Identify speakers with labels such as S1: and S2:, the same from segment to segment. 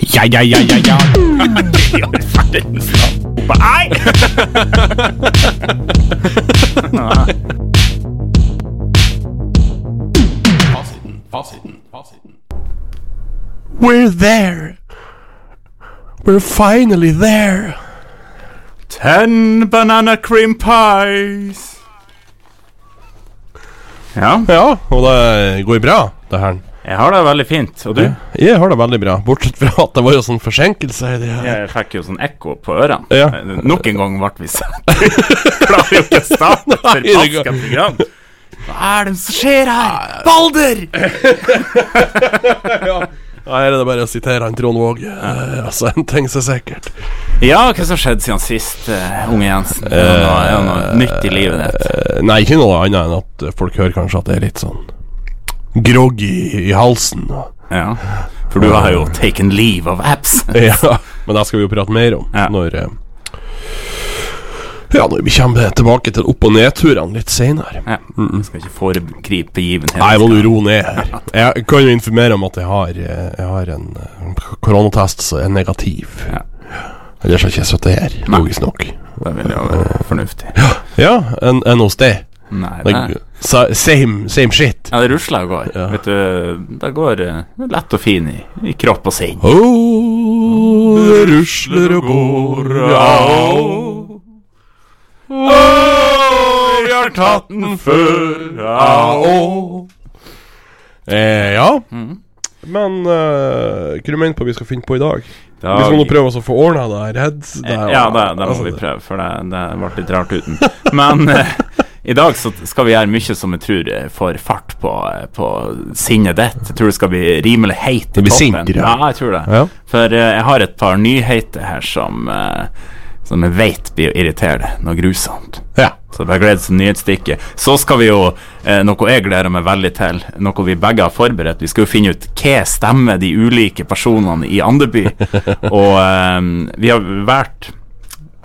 S1: ja, ja, ja, ja, ja. Det gjør farten fra Opa. Nei!
S2: Fasiten, fasiten, fasiten.
S3: We're there. We're finally there.
S1: Ten banana cream pies. Ja,
S3: Ja, og det går bra, det her.
S1: jeg har det veldig fint. Og du?
S3: Jeg har det veldig bra, bortsett fra at det var jo sånn forsinkelse i det her.
S1: Jeg fikk jo sånn ekko på ørene.
S3: Ja.
S1: Eh, Nok en gang ble vi satt. Klarer jo ikke å starte et
S3: Nei, det går-
S1: forbaska program. Hva er det som skjer her? Balder!
S3: Da er det bare å sitere han Trond Våge. Eh, Altså, en ting så sikkert.
S1: Ja, hva som skjedde siden sist, eh, unge Jensen? Er det noe, er det noe nytt i livet ditt?
S3: Eh, Nei, ikke noe annet enn at eh, folk hører kanskje at det er litt sånn groggy i, i halsen. og-
S1: Ja. For du har jo taken leave of apps.
S3: Ja, men det skal vi jo prate mer om
S1: Ja.
S3: når eh, Ja, når vi kommer tilbake til opp- og nedturene litt seinere.
S1: Ja. Jeg skal ikke foregripe begivenheter.
S3: Nei, må du roe ned her. Jeg kan jo informere om at jeg har, eh, jeg har en eh, koronatest som er negativ.
S1: Ja.
S3: Ellers har jeg ikke sittet her,
S1: Nei.
S3: logisk nok.
S1: Det vil jo være fornuftig.
S3: Ja, enn en hos deg.
S1: Nei, det
S3: Det- sa- Same, same shit.
S1: Ja, det rusler og går. Vet du, det går eh, lett og fin i, i kropp og sinn.
S3: Å, det rusler og går, au. Å, vi har tatt den før, au. Eh, ja.
S1: Mm.
S3: Men eh, hva du mener på vi skal finne på i dag? Vi skal nå prøve oss å få ordna det her. Redd.
S1: Eh, Ja, det, det
S3: altså
S1: må vi prøve, for det, det ble litt rart uten. Men eh, i dag så skal vi gjøre mye som jeg tror eh, får fart på, eh, på sinnet ditt. Jeg tror det skal bli rimelig heit i
S3: Det blir
S1: toppen.
S3: sint, ja.
S1: ja. jeg tror det.
S3: Ja.
S1: For eh, jeg har et par nyheter her som, eh, som jeg vet blir å irritere deg noe grusomt.
S3: Ja.
S1: Så bare gled deg til nyhetsstykket. Så skal vi jo, eh, noe jeg gleder meg veldig til, noe vi begge har forberedt, vi skal jo finne ut hva stemmer de ulike personene i Andeby. Og eh, vi har valgt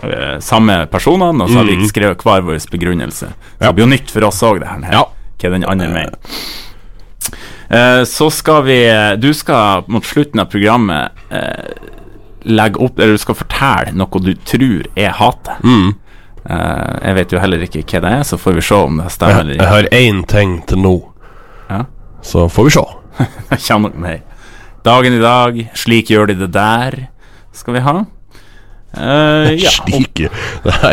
S1: eh, samme personene, og så har vi skrevet hver vår begrunnelse. Så
S3: Mhm. Ja.
S1: det blir jo nytt for oss òg, det her.
S3: Ja.
S1: Hva den andre mener. Eh, så skal vi eh, Du skal mot slutten av programmet eh, legge opp Eller du skal fortelle noe du tror jeg hater.
S3: Mm.
S1: Eh, jeg vet jo heller ikke hva det er, så får vi se om det stemmer eller
S3: Jeg, jeg
S1: ikke.
S3: har én ting til nå,
S1: Ja.
S3: så får vi se.
S1: Jeg kjenner nok meg. Dagen i dag, slik gjør de det der, skal vi ha. Eh, ja.
S3: Slike Nei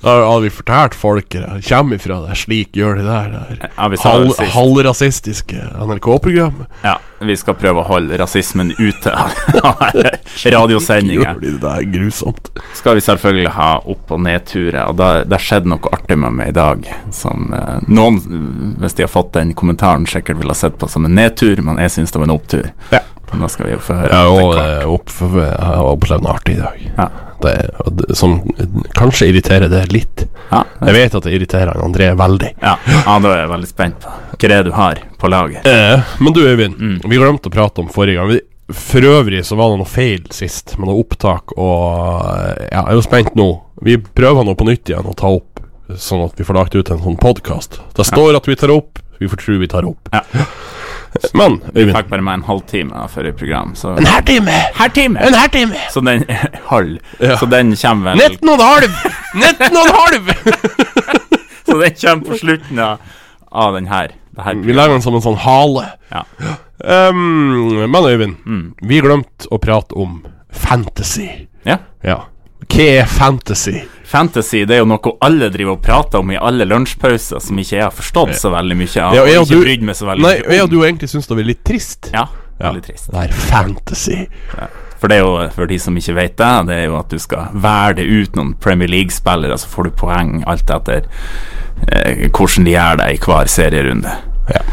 S3: Da har vi fortalt folk det Kjem ifra det Slik gjør de der, det
S1: Ja, vi
S3: der
S1: sa det
S3: Halv,
S1: sist.
S3: Halvrasistiske NRK-program
S1: ja, vi skal prøve å holde rasismen ute av
S3: Gjør
S1: radiosendinger.
S3: de det der grusomt
S1: Skal vi selvfølgelig ha opp- og nedturer, og da- det skjedde noe artig med meg i dag. Som eh, noen, hvis de har fått den kommentaren, sikkert ville ha sett på som en nedtur, men jeg syns det var en opptur.
S3: Ja.
S1: Men da skal vi jo få høre.
S3: Jeg har
S1: etter
S3: også,
S1: hvert.
S3: eh, opp, jeg har opplevd noe artig i dag
S1: Ja.
S3: det, er- og det, Som kanskje irriterer det litt
S1: Ja,
S3: Jeg vet at det irriterer han André veldig
S1: ja. ja, da er jeg veldig spent på hva det er du har på lager.
S3: eh, Men du Øyvind Vi glemte å prate om forrige gang vi, For øvrig så var det noe feil sist Med noe opptak og eh, Ja, jeg er jo spent nå Vi prøver nå på nytt igjen å ta opp Sånn at vi får lagt ut en sånn podcast Det står at vi tar opp Vi får tro vi tar opp
S1: Ja.
S3: Men Øyvind
S1: Fikk bare meg en halvtime da, før i program, så
S3: En her time
S1: Hertime!
S3: En her time
S1: Så den halv.
S3: Ja.
S1: Så den kommer vel
S3: 19 og en halv 19 og en halv
S1: Så den kommer på slutten av, av den her. Det her.
S3: Vi lager den som en sånn hale
S1: Ja.
S3: Ehm, Men Øyvind Vi glemte å prate om Fantasy
S1: ja.
S3: Ja Hva er fantasy?
S1: Fantasy det er jo noe alle driver og prater om i alle lunsjpauser, som ikke jeg har forstått så veldig mye av.
S3: Ja, og
S1: og
S3: jeg og
S1: ikke
S3: du-
S1: brydd meg så veldig
S3: Nei,
S1: mye
S3: jeg og du egentlig syns det var litt trist.
S1: Ja, veldig trist.
S3: Det er fantasy.
S1: For det er jo, for de som ikke vet det, det er jo at du skal velge ut noen Premier League-spillere, så får du poeng alt etter eh, hvordan de gjør det i hver serierunde.
S3: Ja.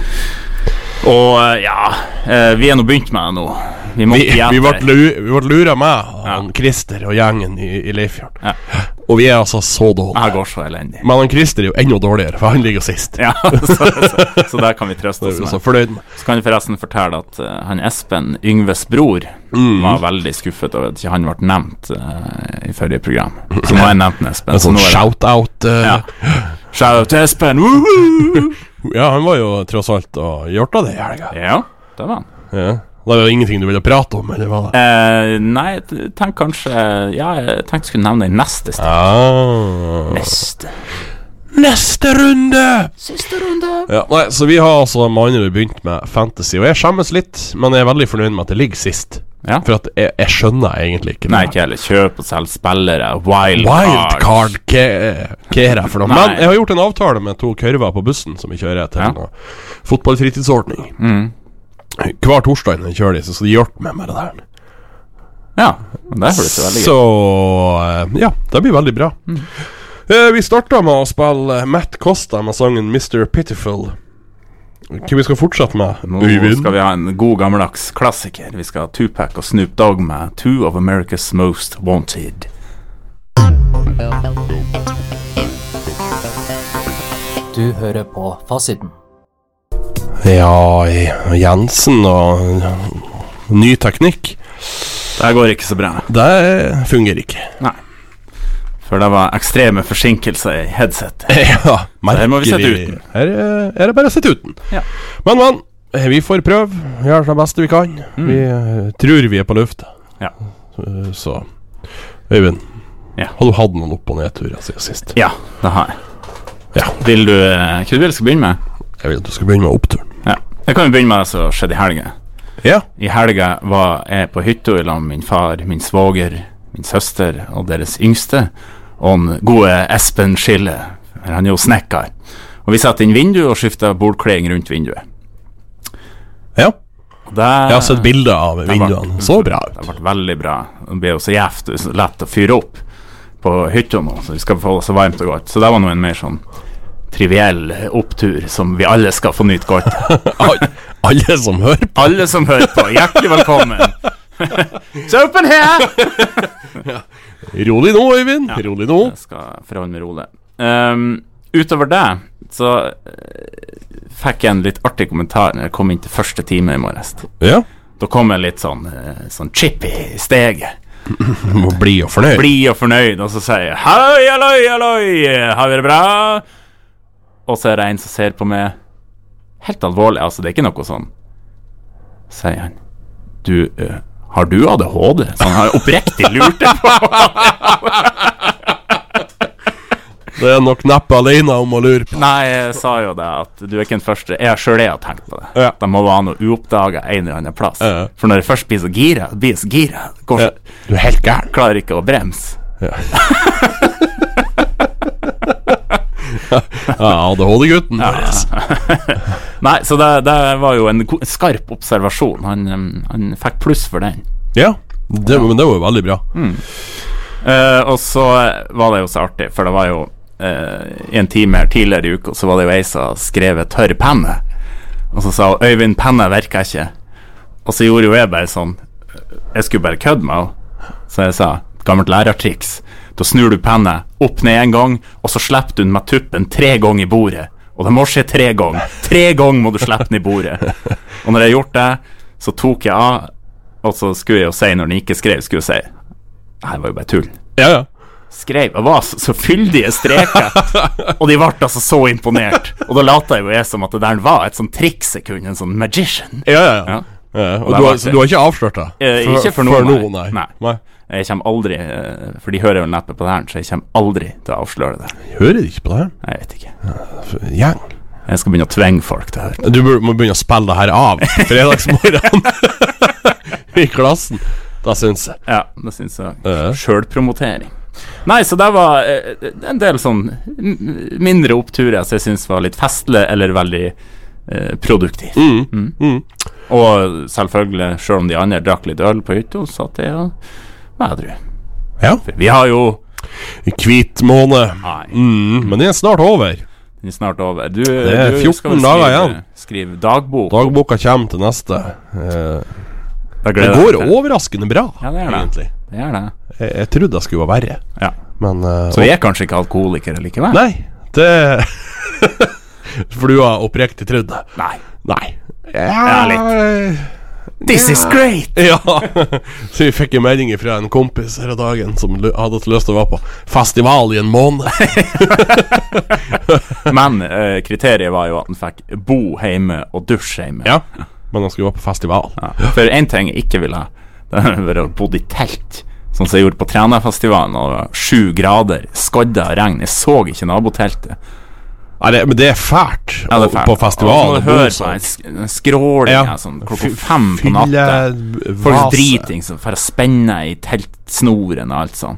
S1: Og eh, ja, eh, vi er nå begynt med det nå. Vi må
S3: Vi,
S1: ikke
S3: vi, ble,
S1: gjette.
S3: lu, vi ble lura med han Christer og gjengen i, i Leifjord.
S1: Ja.
S3: Og vi er altså så dårlige.
S1: Jeg går så elendig.
S3: Men han Christer er jo enda dårligere, for han ligger sist.
S1: Ja, så, så, så der kan vi trøste oss
S3: Det er vi
S1: med.
S3: så fornøyd med.
S1: Så kan jeg forresten fortelle at eh, han Espen, Yngves bror,
S3: Mm.
S1: var veldig skuffet over at ikke han ble nevnt eh, i forrige program. Så nå har jeg nevnt Espen.
S3: En
S1: Så
S3: sånn
S1: nå er det
S3: shout-out. eh,
S1: ja. Shout out til Espen! woohoo!
S3: ja, han var jo tross alt og gjort av det i helga.
S1: Ja, det var han.
S3: Ja. Da var det ingenting du ville prate om, eller hva?
S1: Eh, nei, jeg tenkte kanskje Ja, jeg tenkte jeg skulle nevne den neste. sted.
S3: Ah. Neste runde!
S1: Siste runde.
S3: Ja, nei, så vi har altså med andre ord begynt med fantasy, og jeg skjemmes litt, men jeg er veldig fornøyd med at det ligger sist.
S1: Ja.
S3: For at jeg, jeg skjønner egentlig ikke
S1: Nei, ikke heller. Kjøp og selg spillere. Wildcard.
S3: Wildcard, hva hva er det for noe?
S1: Nei.
S3: Men jeg har gjort en avtale med to kurver på bussen som vi kjører til
S1: Ja. Mm.
S3: en uh, fotballfritidsordning. Hver torsdag når jeg kjører de, så skal de hjelpe meg med det der.
S1: Ja, men det høres jo veldig gøy Mm.
S3: Så eh, ja, det blir veldig bra. Eh, vi starta med å spille Matt Costa med sangen Mr. Pitiful. Hva vi skal fortsette med?
S1: Nå skal vi ha en god gammeldags klassiker. Vi skal ha Tupac og Snoop Dogg med 'Two of America's Most Wanted'.
S4: Du hører på Fasiten.
S3: Ja, Jensen og ny teknikk.
S1: Det her går ikke så bra,
S3: Det fungerer ikke.
S1: for det var ekstreme forsinkelser i headsetet.
S3: Ja,
S1: her må vi sette
S3: merkelig.
S1: uten.
S3: Her eh, er det bare å sette uten.
S1: Ja.
S3: Men, men. eh, Vi får prøve. Gjøre det beste vi kan. Vi eh, tror vi er på lufta.
S1: Mm. Ja.
S3: Eh, Så Øyvind,
S1: Ja.
S3: har du hatt noen opp- og nedturer siden sist?
S1: Ja, det har jeg.
S3: Ja.
S1: Vil du eh, Hva du vil du skal begynne med?
S3: Jeg vil at du skal begynne med oppturen.
S1: Ja. Jeg kan jo begynne med det som skjedde i helga.
S3: Ja.
S1: I helga var jeg på hytta i lag med min far, min svoger, min søster og deres yngste, og den gode Espen Skille, for han er jo snekker. Og vi satte inn vinduet og skifta bordkleding rundt vinduet.
S3: ja.
S1: Og Eh, det-
S3: Jeg har sett bilder av
S1: var-
S3: vinduene. Så bra ut.
S1: Det ble veldig bra. Det ble jo så gjevt og så lett å fyre opp på hytta nå, så vi skal få det så varmt og godt. Så det var nå en mer sånn triviell opptur som vi alle skal få nyte godt.
S3: Al- Alle som hører på.
S1: Alle som hører på, hjertelig velkommen. Så opp en her!
S3: Rolig nå, Øyvind. Rolig nå.
S1: Jeg skal forholde meg rolig. Ehm, utover det så eh, fikk jeg en litt artig kommentar når jeg kom inn til første time i morges.
S3: Ja.
S1: Da kom jeg litt sånn, eh, sånn chippy i steget.
S3: Du må bli og fornøyd.
S1: blid og fornøyd, og så sier jeg Hei, halloi, halloi, har vi det bra? Og så er det en som ser på meg helt alvorlig, altså det er ikke noe sånn. Sier han Du, eh, har du ADHD? Så han har oppriktig lurt det på.
S3: Det er nok neppe alene om å lure på.
S1: Nei, jeg sa jo det, at du er ikke den første. Jeg sjøl har tenkt på det.
S3: Ja.
S1: Det må være noe uoppdaga en eller annen plass.
S3: Ja.
S1: For når jeg først blir så gira, blir jeg så gira, går,
S3: Ja. Du er helt gæren.
S1: klarer ikke å bremse.
S3: Ja, ADHD-gutten. Ja.
S1: Nei, så det, det var jo en go- skarp observasjon. Han, eh, han fikk pluss for den.
S3: ja. Det, men det var jo veldig bra.
S1: Eh, og så var det jo så artig, for det var jo eh, en time her tidligere i uka, så var det jo ei som skrev et tørr penne. Og så sa hun 'Øyvind, penna virker ikke'. Og så gjorde jo jeg bare sånn Jeg skulle bare kødde med henne. Så jeg sa 'Gammelt lærertriks'. Da snur du penna opp ned en gang, og så slipper du den med tuppen tre ganger i bordet. Og det må skje tre ganger. Tre ganger må du slippe den i bordet. Og når jeg har gjort det, så tok jeg av, og så skulle jeg jo si, når den ikke skrev, skulle jeg si Det her var jo bare tull
S3: Ja, ja.
S1: skrev Jeg var så, så fyldige streker, og de ble altså så imponert. Og da lata jo jeg som at det der var et sånt triks jeg kunne, en sånn magician.
S3: Ja, ja, ja.
S1: Ja.
S3: ja.
S1: der
S3: Og du
S1: var
S3: har,
S1: det.
S3: så du har ikke avslørt det?
S1: Eh, ikke for noen, nei.
S3: nei.
S1: Nei. Jeg kommer aldri, eh, for de hører jo neppe på det her, så jeg kommer aldri til å avsløre det.
S3: Jeg Hører ikke på det her.
S1: Jeg vet ikke.
S3: For en Gjeng.
S1: Jeg skal begynne å tvinge folk til å høre.
S3: Du bør- må begynne å spille det her av på fredagsmorgen i klassen. Det syns jeg.
S1: Ja, det syns jeg.
S3: Ja.
S1: Sjølpromotering. Nei, så det var eh, en del sånn mm, mindre oppturer som jeg syns var litt festlig eller veldig eh, produktiv.
S3: Mm.
S1: Mm. Og selvfølgelig, sjøl om de andre drakk litt øl på hytta, satt jeg og var edru.
S3: Ja.
S1: Vi har jo
S3: Hvit måned.
S1: Nei,
S3: Mm, men den er snart over.
S1: den er snart over. Du,
S3: er
S1: du skal vel
S3: 14 dager
S1: skrive,
S3: igjen.
S1: skrive dagbok.
S3: Dagboka kommer til neste. Eh,
S1: Da
S3: det
S1: gleder jeg
S3: går
S1: meg til.
S3: overraskende bra,
S1: Ja, det er det.
S3: egentlig.
S1: Det gjør det.
S3: Jeg, jeg trodde det skulle være verre,
S1: Ja.
S3: men eh,
S1: Så vi er kanskje ikke alkoholikere likevel?
S3: Nei, det For du har oppriktig trodd det?
S1: Nei.
S3: Nei.
S1: Ja,
S3: litt.
S1: This is great!
S3: Eh, Ja, så vi fikk en melding fra en kompis her i dagen som lø- hadde lyst til å være på festival i en måned.
S1: Men eh, kriteriet var jo at han fikk bo hjemme og dusje hjemme.
S3: Ja, Men han skulle være på festival.
S1: Ja. For én ting jeg ikke ville ha, det er å være bodd i telt. Sånn som jeg gjorde på Trænafestivalen, og det var sju grader, skodda og regn. Jeg så ikke naboteltet.
S3: Nei, det, men det er fælt,
S1: Ja, det er
S3: å-
S1: fælt.
S3: på festival.
S1: Og så må du høre på den sk- den skrålinga sånn klokka fem på natta. Folk driting som får spenne i teltsnoren og alt sånn.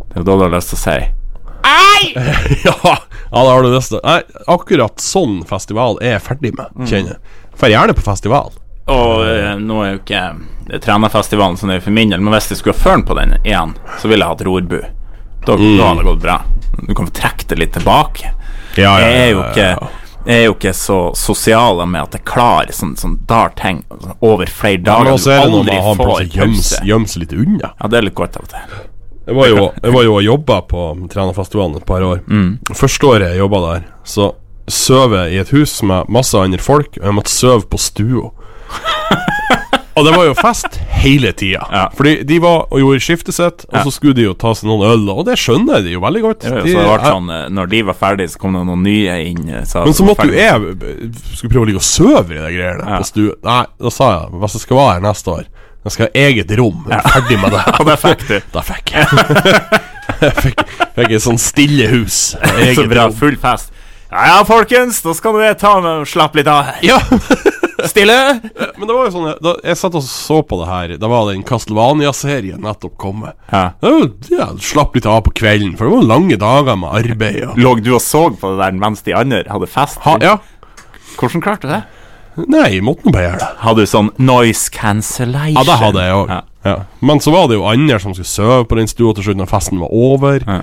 S1: Det er jo da du har lyst til å si
S3: Ja, ja, da har du lyst til Nei, akkurat sånn festival er jeg ferdig med,
S1: Mm.
S3: kjenner jeg. Drar gjerne på festival.
S1: Og eh, nå er jo ikke eh, Trænafestivalen så nøye for min del, men hvis jeg skulle ha førn på den igjen, så ville jeg hatt rorbu. Da,
S3: Mm.
S1: da hadde det gått bra. Du kan få trekke det litt tilbake.
S3: Ja,
S1: Jeg er jo ikke jeg er jo ikke så sosial med at jeg klarer sånn, sånn dar ting sånn over flere
S3: Men
S1: dager.
S3: også er det noe med å ha en
S1: får
S3: plass å gjemme seg- gjemme seg litt unna.
S1: Ja, det er litt godt av og til.
S3: Jeg var jo, jeg var jo og jobba på Trænafestivalen et par år.
S1: Mm.
S3: Første året jeg jobba der, så sov jeg i et hus med masse andre folk, og jeg måtte sove på stua. og det var jo fest hele tida.
S1: Ja.
S3: Fordi de var og gjorde skiftet sitt, og så skulle de jo ta seg noen øl, og det skjønner jeg de jo veldig godt.
S1: Så
S3: De-
S1: det ble sånn, eh, når de var ferdige, så kom det noen nye inn. eh,
S3: Men så
S1: de var
S3: måtte jo
S1: ferdige.
S3: jeg Skulle prøve å ligge og sove i de greiene der
S1: Ja.
S3: på stua. Nei, da sa jeg hvis jeg skal være her neste år, da skal jeg ha eget rom. Jeg er ferdig med det.
S1: Ja, det fikk du.
S3: Da fikk jeg. jeg fikk, fikk et sånn stille hus.
S1: Så
S3: Eget
S1: bra,
S3: rom.
S1: full fest. Ja, ja, folkens, da skal dere ta med og slappe litt av her.
S3: Ja,
S1: Stille!
S3: men det var jo sånn da, Jeg satt og så på det her. Da var den Castlevania-serien nettopp kommet.
S1: Ja.
S3: Det var jo- Ja, slapp litt av på kvelden, for det var lange dager med arbeid. Og,
S1: Lå du og så på det der mens de andre hadde fest?
S3: ha, ja.
S1: Hvordan klarte du det?
S3: Nei, jeg måtte nå bare gjøre det.
S1: Hadde du sånn noise cancellation?
S3: Ja, det hadde jeg òg.
S1: Ja.
S3: Ja. Men så var det jo andre som skulle sove på den stua til slutt når festen var over.
S1: Ja.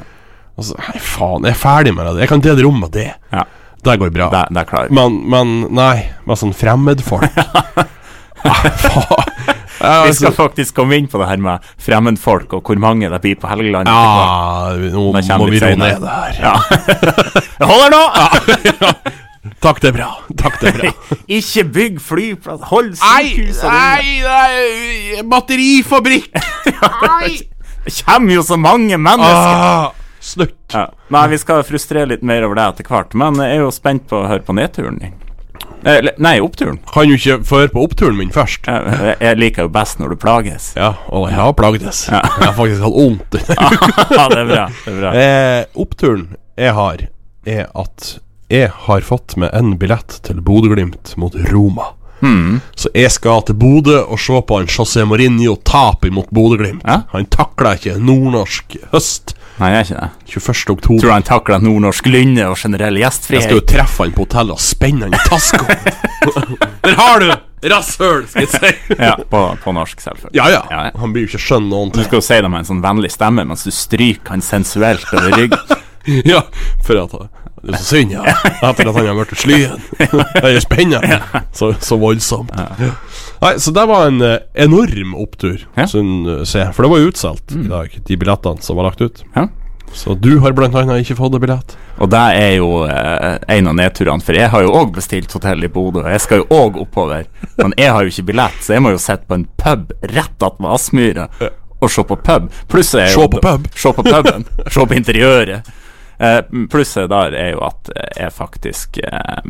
S3: Og så Nei, faen, jeg er ferdig med det. Jeg kan dele rom med det.
S1: Ja,
S3: Det går bra.
S1: det, det klarer jeg.
S3: Men, men nei, med sånn fremmedfolk ja, faen. Ja,
S1: Vi
S3: altså,
S1: skal faktisk komme inn på det her med fremmedfolk og hvor mange det blir på Helgeland.
S3: ja, nå
S1: Det kommer
S3: må vi
S1: litt
S3: roe
S1: senere.
S3: ned det her.
S1: Ja. Jeg holder nå!
S3: Takk, det er bra. Takk, det er bra.
S1: Ikke bygg flyplass, hold sykehusene inne.
S3: nei, batterifabrikk!
S1: Det kommer jo så mange mennesker.
S3: Ah, slutt.
S1: Ja. Nei, vi skal frustrere litt mer over det etter hvert, men jeg er jo spent på å høre på nedturen din. Eh, le- Nei, oppturen.
S3: Kan jo ikke føre på oppturen min først.
S1: Jeg jeg liker jo best når du plages.
S3: Ja, og jeg har plagdes. Jeg har faktisk hatt vondt.
S1: Ja, det er bra. Det er bra.
S3: Eh, oppturen jeg har, er at jeg har fått med en billett til Bodø-Glimt mot Roma. Så jeg skal til Bodø og se på en José Mourinho tape imot Bodø-Glimt.
S1: Ja.
S3: Han takla ikke nordnorsk høst
S1: Nei, jeg er ikke det.
S3: 21.
S1: Tror
S3: oktober.
S1: du han takler nordnorsk lynne og generell
S3: Jeg skal jo
S1: gjestfrihet?
S3: treffe han på hotellet og spenne han i taska. Der har du rasshøl, skal jeg si.
S1: Ja, på, på norsk, selvfølgelig.
S3: Ja, ja.
S1: Ja, ja.
S3: Han blir jo ikke skjønn noen
S1: Du
S3: ting.
S1: skal jo si det med en sånn vennlig stemme mens du stryker han sensuelt over ryggen.
S3: Ja, for at det er så synd, ja. Etter at han har blitt slyen. Det er spennende. Så, så voldsomt. Nei, så det var en eh, enorm opptur,
S1: Ja. Mm.
S3: syn- eh, se. For det var jo utsolgt i dag, de billettene som var lagt ut.
S1: Ja.
S3: Så du har blant annet ikke fått en billett.
S1: Og det er jo eh, en av nedturene, for jeg har jo òg bestilt hotell i Bodø, og jeg skal jo òg oppover. Men jeg har jo ikke billett, så jeg må jo sitte på en pub rett attmed Aspmyra og se på pub. Pluss er jo
S3: Se på pub.
S1: Se på puben. se på interiøret. Eh, Plusset der er jo at eh, jeg faktisk eh,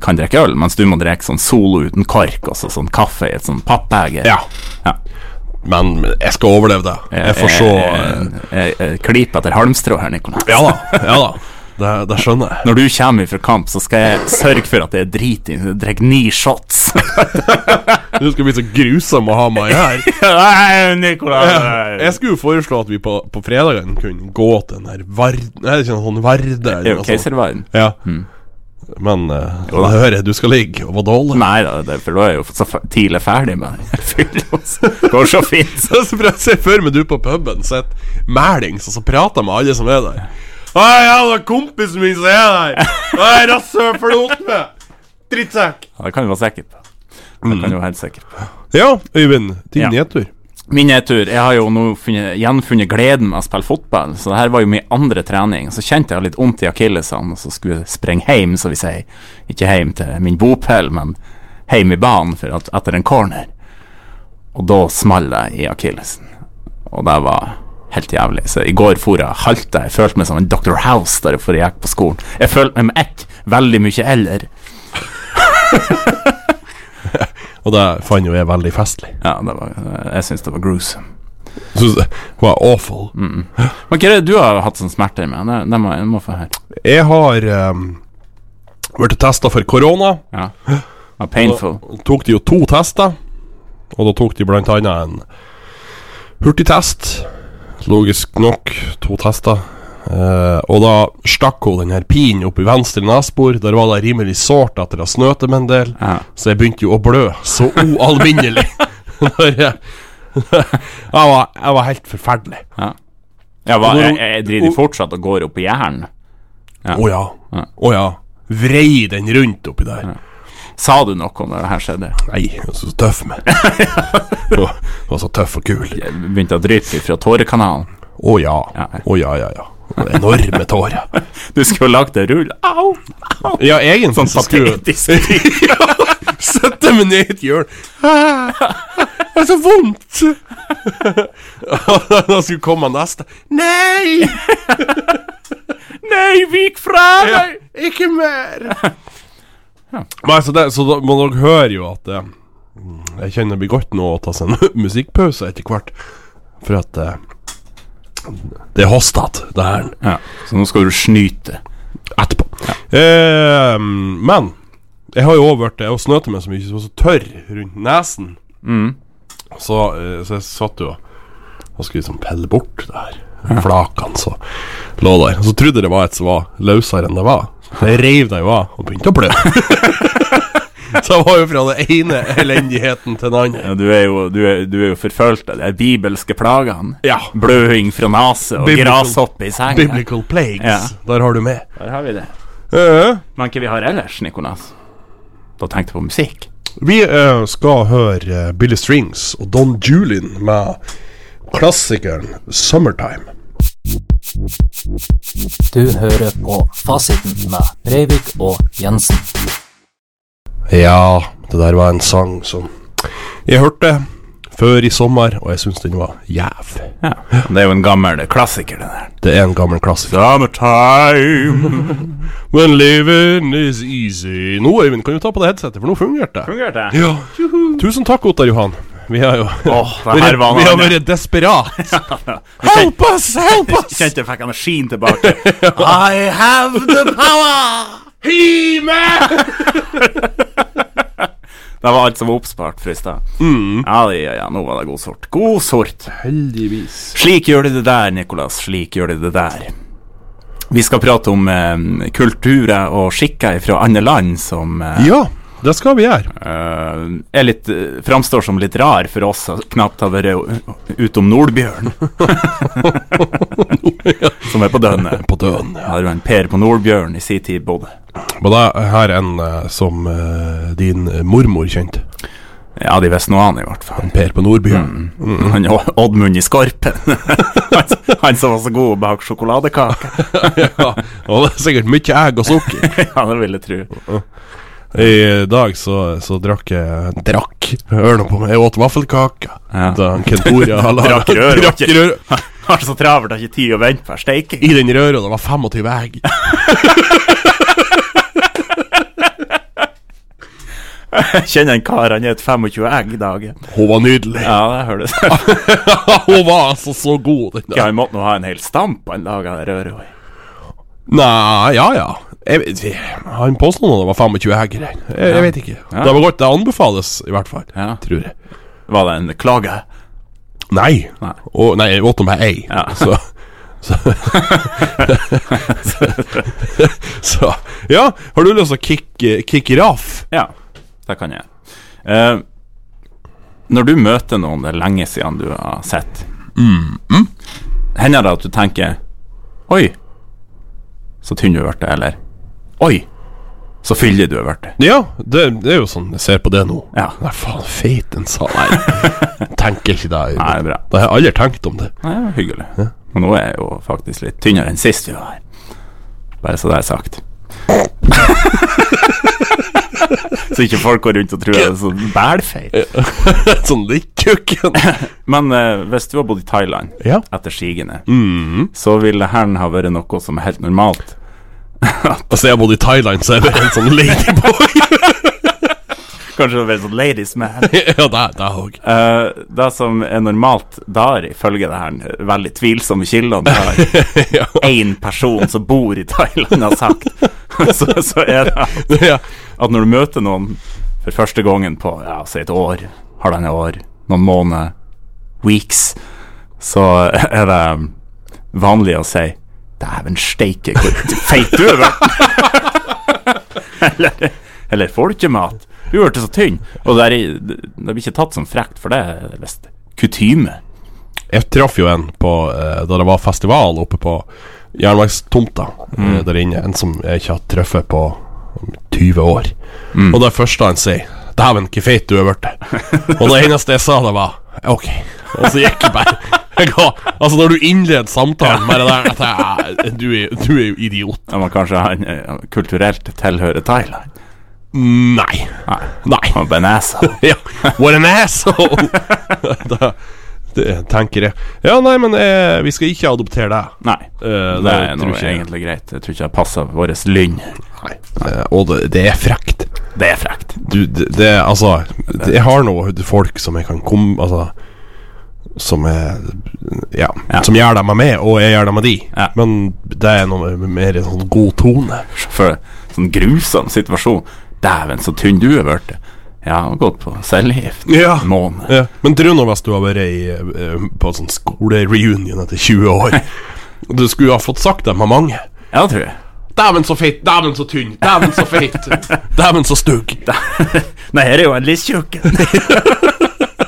S1: kan drikke øl, mens du må drikke sånn Solo uten kork, og så sånn kaffe i et sånn pappbeger. Ja.
S3: Men jeg skal overleve det. Jeg får se eh,
S1: eh, eh, Klipp etter halmstrå her, Nikolai.
S3: Ja da. ja da Det, det skjønner jeg.
S1: Når du kommer fra kamp, så skal jeg sørge for at jeg er driting. Jeg drikker ni shots.
S3: Du skal bli så grusom å ha meg her.
S1: Nei, Nikolai.
S3: Jeg skulle jo foreslå at vi på, på fredagen kunne gå til den her Vard... Nei, det er ikke en sånn Varde eller
S1: Det er jo
S3: noe sånt.
S1: keiservarm.
S3: Ja.
S1: Mm.
S3: Men eh, det hører jeg du skal ligge og være dårlig.
S1: Nei da, det er for da er jeg jo så fe- tidlig ferdig med den. Fyll oss. Går så fint.
S3: Så jeg prøver å se for meg du på puben sitter mælings og så prater med alle som er der. Å, ja, det er kompisen min som er der! Å, rasshøl forlot meg! Drittsekk!
S1: Ja, Det kan du være sikker på. Det kan du være helt sikker på.
S3: Ja, Øyvind. Din
S1: Ja.
S3: nedtur.
S1: Min nedtur. Jeg har jo nå funnet, gjenfunnet gleden med å spille fotball, så det her var jo min andre trening. Så kjente jeg litt vondt i akillesene, og så skulle jeg sprenge hjem, som vi sier. Ikke hjem til min bopel, men hjem i banen for at, etter en corner. Og da small det i akillesen. Og det var helt jævlig. Så i går for jeg halta. Jeg følte meg som en Dr. House der for jeg gikk på skolen. Jeg følte meg med ett veldig mye eller.
S3: Og det fant jo jeg veldig festlig.
S1: Ja, det var, jeg syns det var gruesome.
S3: Synes det var awful.
S1: Mm. Men hva er det du har hatt sånn smerter med? Det, det må jeg må få høre.
S3: Jeg har ehm, vært testa for korona.
S1: Ja. Ja, painful.
S3: tok de jo to tester, og da tok de blant annet en hurtigtest. Logisk nok, to tester. Eh, og da stakk hun den her pinen opp i venstre nesebor. Der var det rimelig sårt etter å ha snøtt dem en del,
S1: Ja.
S3: så jeg begynte jo å blø så ualminnelig. Når jeg, jeg, var, jeg var helt forferdelig.
S1: Ja, hva,
S3: Og når
S1: jeg,
S3: hun-
S1: jeg driver fortsatt og går opp i jern.
S3: Å ja. Å ja. Vrei den rundt oppi der.
S1: Sa du noe om det her skjedde?
S3: Nei, jeg var så tøff, men. Du var så tøff og kul.
S1: Jeg begynte å dryppe fra tårekanalen.
S3: Å ja. Å
S1: Ja.
S3: ja, ja, ja. Og Enorme tårer.
S1: Du skulle lagt deg rull. Au!
S3: Ja, egentlig
S1: Sånn patetisk.
S3: Sette meg ned i et hjørne. Det er så vondt! da skulle komme neste. Nei!
S1: Nei, vik fra
S3: Ja, ikke mer! Nei, så, det, så da, men dere hører jo at eh, Jeg kjenner det blir godt nå å ta seg en musikkpause etter hvert. For at eh, Det er hostet, det her.
S1: Ja, så nå skal du snyte.
S3: etterpå. Eh, men jeg har jo også vært Jeg har snøtet meg så mye, så jeg var så tørr rundt nesen. Så, eh, så jeg satt jo og skulle liksom pelle bort det her. Flakene som lå der. Så trodde jeg det var et som var løsere enn det var. Så jeg reiv det jo av og begynte å blø. så jeg var jo fra den ene elendigheten til den andre.
S1: Ja, du er jo, du er, du er jo forfølgt av de bibelske plagene.
S3: Ja.
S1: Bløing fra nese og
S3: Biblical-
S1: grashoppe i senga.
S3: Biblical plagues.
S1: Ja.
S3: Der har du med.
S1: Der har vi det.
S3: Eh,
S1: Men hva vi har ellers, Nikolas? Da tenkte jeg på musikk.
S3: Vi eh, skal høre eh, Billy Strings og Don Julin med klassikeren 'Summertime'.
S4: Du hører på Fasiten med Breivik og Jensen.
S3: Ja, det der var en sang som jeg hørte før i sommer, og jeg syns den var jæv.
S1: Ja. Det er jo en gammel klassiker, det der.
S3: Det er en gammel klassiker.
S1: Summertime.
S3: When living is easy Nå, Øyvind, kan du ta på deg headsetet, for nå fungerte det.
S1: Fungerte det?
S3: Ja. Tusen takk, Ottar Johan. Vi har jo
S1: Åh, det her var
S3: Vi har
S1: noe.
S3: vært desperat.
S1: kjen-
S3: Help us! Help us!
S1: Kjente jeg fikk energien tilbake. I have the power! Det var alt som var oppspart fra i stad.
S3: Mm.
S1: Ja, ja, ja, nå var det god sort. God sort.
S3: Heldigvis.
S1: Slik gjør de det der, Nikolas. Slik gjør de det der. Vi skal prate om eh, kulturer og skikker fra andre land som eh,
S3: Ja, det skal vi gjøre.
S1: eh, er litt, eh, framstår som litt rar for oss som knapt har vært u- utom Nordbjørn. som er på dønnet.
S3: På døden, ja.
S1: Har jo en Per på Nordbjørn i sin tid bodde.
S3: Men det er her en eh, som eh, din mormor kjente.
S1: Ja, de visste noe annet, i hvert fall.
S3: Per på Nordbyen.
S1: Han Å- Oddmund i Skorpen. han, han som var så god bak sjokoladekake.
S3: ja, og det er sikkert mye egg og sukker.
S1: ja, det vil jeg tro.
S3: I dag så, så drakk jeg Drakk? Hør nå på meg, jeg åt vaffelkake.
S1: Ja.
S3: Da Kent Tore har laget-
S1: Drakk rør,
S3: Drakk
S1: ikke-
S3: rør.
S1: Har det så travelt, har ikke tid å vente på steiking.
S3: I den røra det var 25 egg.
S1: Jeg kjenner en kar, han spiser 25 egg i dagen.
S3: Hun var nydelig.
S1: Ja, det høres ut.
S3: Hun var altså så god, den der.
S1: Han måtte nå ha en hel stamp han laga det røret i.
S3: Nei, ja ja. Jeg, vet- han påsto nå det var 25 egg i den. Jeg, jeg vet ikke.
S1: Ja.
S3: Det var godt, det anbefales i hvert fall.
S1: Ja.
S3: Tror jeg.
S1: Var det en klage?
S3: Nei.
S1: Nei.
S3: Og, nei, jeg åt om ei.
S1: Ja.
S3: Så, så, så Ja, har du lyst til å kick, kick it off?
S1: Ja, det kan jeg. Eh, når du møter noen det er lenge siden du har sett, hender det at du tenker Oi, så tynn du har blitt, eller Oi, så fyldig du har blitt.
S3: Ja, det, det er jo sånn jeg ser på det nå.
S1: Ja.
S3: Nei, faen, feit den sa. Nei, tenker ikke det.
S1: Nei, det er bra.
S3: Da har jeg aldri tenkt om det.
S1: Nei, det var hyggelig. Og nå er jeg jo faktisk litt tynnere enn sist vi var her. Bare så det er sagt. så ikke folk går rundt og tror jeg er så bælfeit.
S3: sånn litt kukken.
S1: Men eh, hvis du har bodd i Thailand
S3: Ja.
S1: etter sigende, så ville herren ha vært noe som er helt normalt.
S3: Altså, jeg har bodd i Thailand, så jeg er bare en sånn ladyboy.
S1: Kanskje det var sånn ladies man.
S3: ja, det det òg.
S1: Eh, det som er normalt der, ifølge det her veldig tvilsomme kildene vi har,
S3: ja.
S1: én person som bor i Thailand har sagt, så, så er det
S3: ja.
S1: at når du møter noen for første gangen på ja, si et år, halvannet år, noen måneder, weeks, så er det vanlig å si Dæven steike, hvor feit du er blitt! eller, eller folkemat. Du ble så tynn. Og det, er, i- det blir ikke tatt som frekt, for det er visst kutyme.
S3: Jeg traff jo en på, eh, da det var festival oppe på jernverkstomta eh, der inne. En som jeg ikke har truffet på 20 år. Og det første han sier Dæven, hvor feit du er blitt. Og det eneste jeg sa, det var OK. Og så gikk jeg bare. Jeg ga, altså, når du innleder samtalen med det der at jeg, "Æ, du, er, du er jo idiot.
S1: Om man kanskje han, eh, kulturelt tilhører Thailand.
S3: Nei.
S1: Nei.
S3: Nei.
S1: Han er bare en asshole.
S3: Ja, what an asshole! da, det tenker jeg. Ja, nei, men eh, vi skal ikke adoptere deg.
S1: Nei.
S3: Eh,
S1: Det er
S3: tror
S1: noe
S3: ikke jeg.
S1: egentlig greit. Jeg tror ikke det passer vårt lynn.
S3: Nei. Eh, og det, det er frekt.
S1: Det er frekt.
S3: Du, det, det er altså det- Jeg har noe folk som jeg kan komme Altså Som er Ja.
S1: Ja.
S3: Som gjør det med meg, og jeg gjør det med de.
S1: Ja.
S3: Men det er noe mer en sånn god tone.
S1: For sånn grusom situasjon. Dæven, så tynn du er blitt. Ja, har gått på cellegift.
S3: Ja.
S1: En måned.
S3: Ja. Men tro nå hvis du har vært i, eh, på en sånn skolereunion etter 20 år. Du skulle ha fått sagt det med mange.
S1: Ja, tror jeg.
S3: Dæven så feit, dæven så tynn, dæven så feit, dæven så stygg.
S1: Nei, her er jo en litt tjukk en.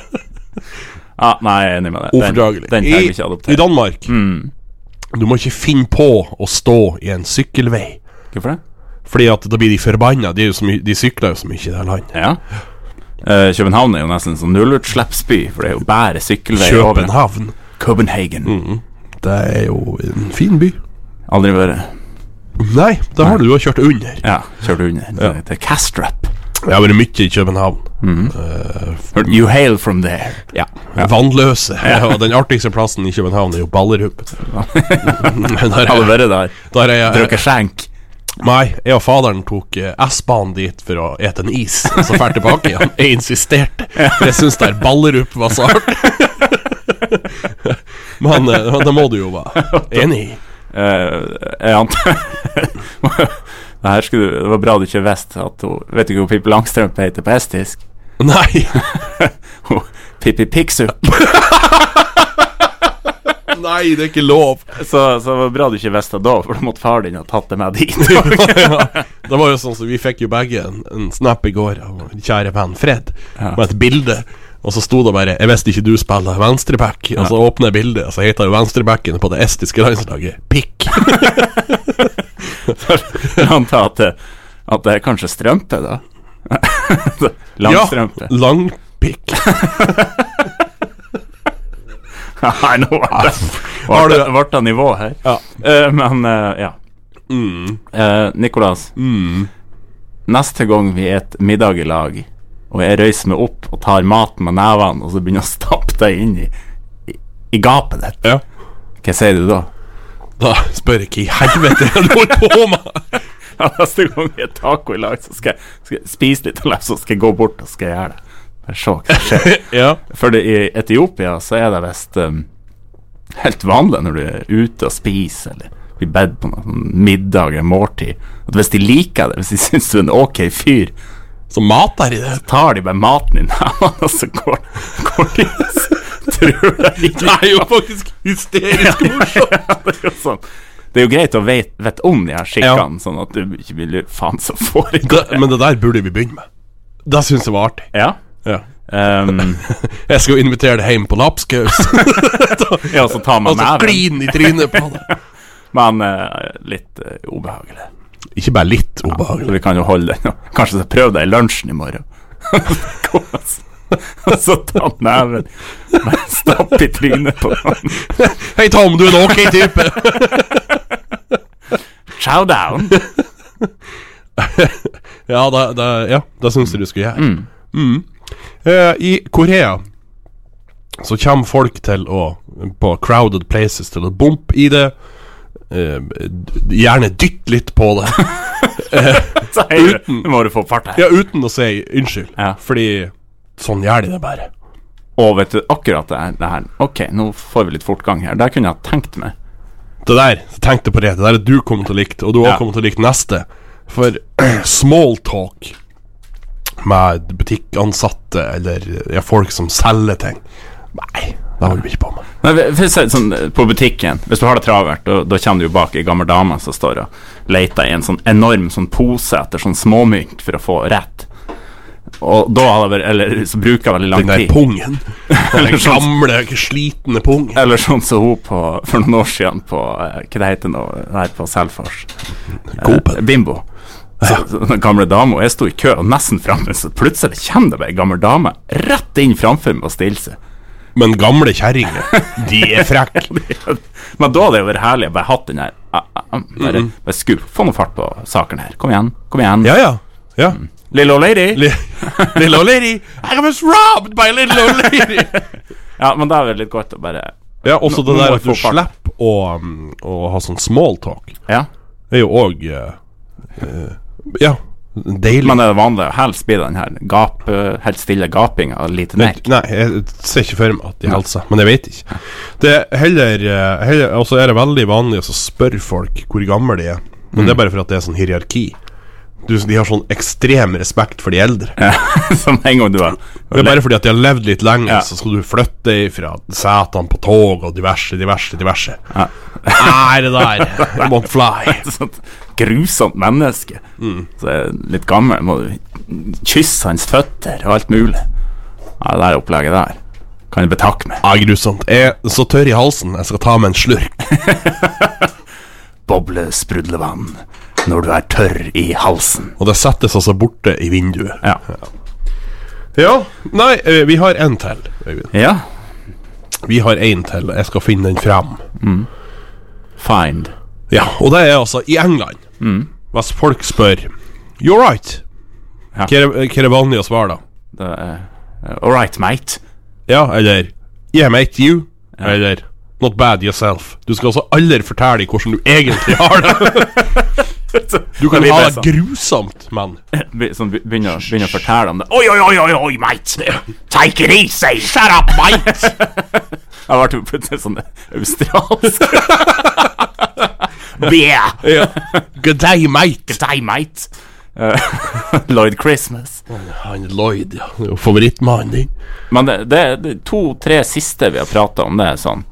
S1: Ja, nei, jeg er enig med deg. Den-
S3: Ufordragelig.
S1: Den kan vi ikke
S3: I, I
S1: adoptere. Mm.
S3: Danmark Du må ikke finne på å stå i en sykkelvei.
S1: Hvorfor det?
S3: Fordi at da blir de forbanna. De, er jo så my- de sykler jo så mye i det landet.
S1: Ja. Eh, København er jo nesten som nullutslippsby, for det er jo bare sykkelvei over.
S3: København.
S1: Copenhagen.
S3: Det er jo en fin by.
S1: Aldri vært
S3: Nei, det har du jo kjørt under.
S1: Ja, kjørt under. Ja. Til Castrap.
S3: Jeg har vært mye i København.
S1: Mm.
S3: Eh,
S1: You hail from there.
S3: Ja. Vannløse. Og den artigste plassen i København er jo Ballerup. der
S1: Hadde
S3: er,
S1: vært der.
S3: der er jeg
S1: Drukket skjenk.
S3: Nei, jeg og faderen tok eh, S-banen dit for å ete en is, og så fær tilbake igjen. Jeg insisterte, for jeg syns der Ballerup var så hardt. Men eh, men det må du jo være enig i.
S1: Eh, jeg antar Det her skulle du Det var bra du ikke visste at hun Vet du ikke hva Pippi Langstrømpe heter på estisk?
S3: Nei.
S1: Hun- Pippi Pikksup.
S3: Nei, det er ikke lov.
S1: Så, så det var bra du ikke visste det da, for da måtte far din ha tatt det med dit.
S3: Det var jo sånn som Vi fikk jo begge en, en snap i går av vår kjære venn Fred, med et bilde. Og så sto det bare 'Jeg visste ikke du spiller venstreback', og så åpner jeg bildet, og så heter jo venstrebacken på det estiske landslaget Pikk.
S1: Jeg antar at, det- at det er kanskje strømpe, da. Langstrømpe.
S3: Ja, langpikk.
S1: Nei, nå ble det-
S3: Har
S1: ble
S3: du-
S1: det ble det nivå her.
S3: Ja.
S1: Eh, men eh, ja. Eh, Nikolas, neste gang vi et middag i lag, og jeg røyser meg opp og tar maten med nevene, og så begynner jeg å stappe deg inn i, i, i gapet ditt,
S3: ja.
S1: hva sier du da?
S3: Da spør jeg hva i helvete er det du holder på med?
S1: Ja, neste gang vi er taco i lag, så skal jeg, skal jeg spise litt og så skal jeg gå bort og skal jeg gjøre det. Bare se hva som skjer.
S3: Ja.
S1: For det, i Etiopia så er det visst um, helt vanlig når du er ute og spiser eller blir bedt på noe sånn middag eller måltid, at hvis de liker det, hvis de syns du er en ok fyr,
S3: Så mat der i det.
S1: tar de bare maten din av han, og så går, går de og så tror de ikke
S3: Det er jo faktisk hysterisk morsomt.
S1: Ja, det er jo sånn. Det er jo greit å vite vet om de her skikkene, sånn at du ikke blir lurt faen som foregår.
S3: Det- Men det der burde vi begynne med. Det syns jeg var artig.
S1: Ja.
S3: Ja.
S1: Um,
S3: Jeg skal jo invitere deg hjem på lapskaus,
S1: ja, så tar
S3: og
S1: man
S3: så
S1: neven.
S3: klin i trynet på deg.
S1: Men eh, litt eh, ubehagelig.
S3: Ikke bare litt
S1: Så
S3: ubehagelig.
S1: vi kan jo holde den. og Kanskje så prøv deg i lunsjen i morgen. Kom, altså. Og så ta neven Bare Stapp i trynet på han.
S3: Hei, Tom, du er en ok type.
S1: Chow down.
S3: Ja, det, det, ja, det syns jeg du skulle gjøre. Mm. Eh, I Korea så kommer folk til å på crowded places til å bumpe i det. eh, d- gjerne dytte litt på det. Eh,
S1: Så Høyre,
S3: Uten.
S1: nå må du få fart her.
S3: Ja, uten å si unnskyld.
S1: Ja.
S3: Fordi sånn gjør de det bare.
S1: Og vet du akkurat det her, det her. Ok, nå får vi litt fortgang her. Der kunne jeg ha tenkt meg.
S3: Det der, tenk deg på det. Det der er du kommer til å like, og du også
S1: Ja.
S3: kommer til å like neste. For small talk med butikkansatte eller ja, folk som selger ting Nei, det holder vi ikke på med.
S1: Nei, for- for å si det sånn, på butikken, hvis du har det travelt, da, da kommer du jo bak ei gammel dame som står og leter i en sånn enorm sånn pose etter sånn småmynt for å få rett. Og da hadde jeg vært Eller så bruker jeg veldig lang
S3: Den der
S1: tid.
S3: pungen.
S1: Sånn
S3: Den gamle, slitne pungen.
S1: Eller sånn som hun på, for noen år siden på eh, Hva det heter nå, her på Selfors. Eh,
S3: Coop.
S1: Bimbo. Så, så den gamle dama, og jeg sto i kø og nesten framme, så plutselig kommer det bare ei gammel dame rett inn framfor meg og stiller seg.
S3: Men gamle kjerringer, de er frekke.
S1: Men da hadde det vært herlig å bare hatt den der ah, ah, ah, Bare, bare skru, få noe fart på saken her. Kom igjen, kom igjen.
S3: Ja, ja. ja.
S1: Mm. Little old lady.
S3: Li- Little old lady, I was robbed by little old lady.
S1: Ja, men da er det litt godt å bare
S3: Ja, også
S1: Nå-
S3: det
S1: nå
S3: der
S1: må
S3: at
S1: jeg
S3: du
S1: få fart.
S3: slipper å, um, å ha sånn small talk,
S1: Ja.
S3: det er jo òg eh, eh, Ja, deilig.
S1: Men det er vanlig å helst bli den her gap, eh, helt stille gapinga og lite
S3: Men-
S1: nekk.
S3: Nei, jeg ser ikke for meg at de holder seg, men jeg vet ikke. Det er heller, eh, heller Og så er det veldig vanlig å så spørre folk hvor gamle de er, men det er bare for at det er sånn hierarki. Du, de har sånn ekstrem respekt for de eldre.
S1: Som en gang du har
S3: Det er bare fordi at de har levd litt lenge,
S1: Ja.
S3: så skal du flytte ifra setene på tog og diverse, diverse, diverse. Nei, det der I won't fly.
S1: et sånt grusomt menneske.
S3: Mm.
S1: Så er jeg litt gammel, må du kysse hans føtter og alt mulig. Ja, det der opplegget der kan jeg betakke meg.
S3: Ja, grusomt. Jeg er så tørr i halsen, jeg skal ta meg en slurk.
S1: Boblesprudlevann når du er tørr i halsen.
S3: Og det settes altså borte i vinduet.
S1: Ja.
S3: Ja, nei, eh, vi har en til, Øyvind.
S1: ja.
S3: Vi har en til, jeg skal finne den frem.
S1: Find.
S3: Ja, og det er altså i England. Hvis folk spør You're right.
S1: Ja.
S3: Hva er hva er det vanlige å svare da?
S1: Det er eh, All right, mate.
S3: Ja, eller Yeah, mate, you. Eller Not bad yourself. Du skal også aldri fortelle hvordan du egentlig har det. Du kan
S1: Det blir
S3: ha
S1: bare
S3: det
S1: sånn.
S3: grusomt, men
S1: Be- Sånn, be- begynner, å- begynner å fortelle om det. Oi, oi, oi, oi, oi, mate! Take it easy! Shut up, mate! Jeg ble jo plutselig sånn australsk. yeah!
S3: ja. Good day, mate.
S1: Good day, mate. Eh, Lloyd Christmas.
S3: Sånn, Han Lloyd, ja. Det er jo Favorittmannen din.
S1: Men det, det, det to-tre siste vi har prata om, det er sånn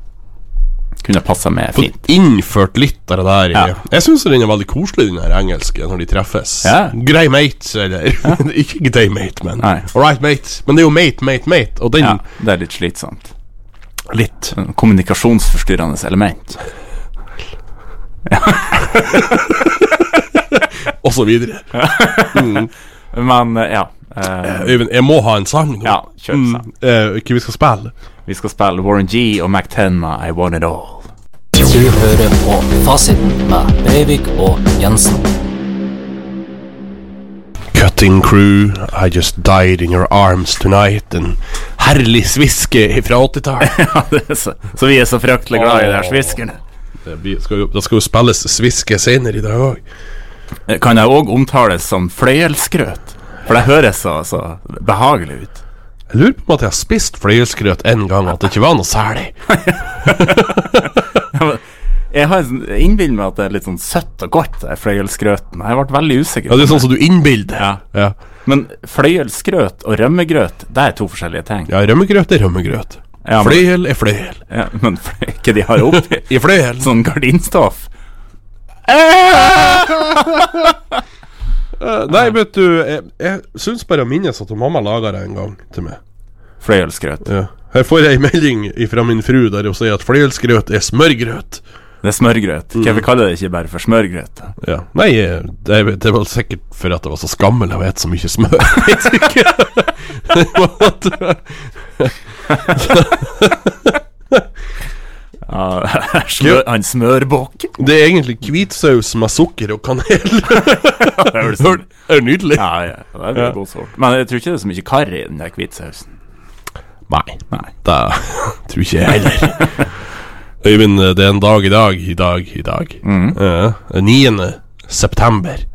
S1: Kunne passa med
S3: fått
S1: fint.
S3: innført litt av det der. i-
S1: Ja.
S3: Jeg syns den er veldig koselig, den her engelske, når de treffes.
S1: Ja.
S3: Grei mate, eller Ikke grei mate, men
S1: Nei.
S3: all right, mate. Men det er jo mate, mate, mate, og den
S1: Ja, det er litt slitsomt.
S3: litt.
S1: Sånn Kommunikasjonsforstyrrende element.
S3: Og så videre.
S1: Men eh, ja. eh,
S3: Øyvind, jeg må ha en sang nå.
S1: Ja, kjør
S3: Mm,
S1: sang.
S3: eh, Hva vi skal spille?
S1: Vi skal spille Warren G og McTenna I Want It All.
S4: Du hører på Fasiten med Breivik og Jensen.
S3: Cutting crew, I just died in your arms tonight. En herlig sviske fra 80-tallet.
S1: Ja, det er så, så vi er så fryktelig glad i de her sviskerne.
S3: Det blir- skal jo- det skal jo spilles sviske senere i dag òg.
S1: Kan jeg òg omtales som fløyelsgrøt? For det høres så, så behagelig ut.
S3: Jeg lurer på om at jeg har spist fløyelsgrøt en gang, og at det ikke var noe særlig.
S1: Jeg har en sånn- jeg innbiller meg at det er litt sånn søtt og godt, det fløyelsgrøten. Jeg ble veldig usikker.
S3: Ja, det er sånn som du innbilder.
S1: Ja.
S3: Ja.
S1: Men fløyelsgrøt og rømmegrøt, det er to forskjellige ting.
S3: Ja, rømmegrøt er rømmegrøt.
S1: Ja, men-
S3: fløyel er fløyel.
S1: Ja, men fløy- hva de har oppi?
S3: I fløyel
S1: Sånn gardinstoff?
S3: Nei, vet du, jeg, jeg syns bare å minnes at mamma laga det en gang til meg.
S1: Fløyelsgrøt.
S3: Ja. Her får jeg ei melding fra min fru der hun sier at fløyelsgrøt er smørgrøt.
S1: Det er smørgrøt. Hvorfor kaller det ikke bare for smørgrøt? da?
S3: Ja. Nei, eh, det, er- det er vel sikkert for at det var så skammel jeg vet så mye smør. Jeg vet ikke.
S1: Ja, smør, han smørbåk.
S3: det er egentlig hvitsaus med sukker og kanel.
S1: Det er vel
S3: Det
S1: sånn.
S3: er nydelig.
S1: Ja, ja, det er
S3: Ja.
S1: veldig god sort. Men jeg tror ikke det er så mye karri i den der hvitsausen.
S3: Nei.
S1: Nei.
S3: Det tror ikke jeg heller. Øyvind, det er en dag i dag, i dag, i dag. Eh, 9. eh, september.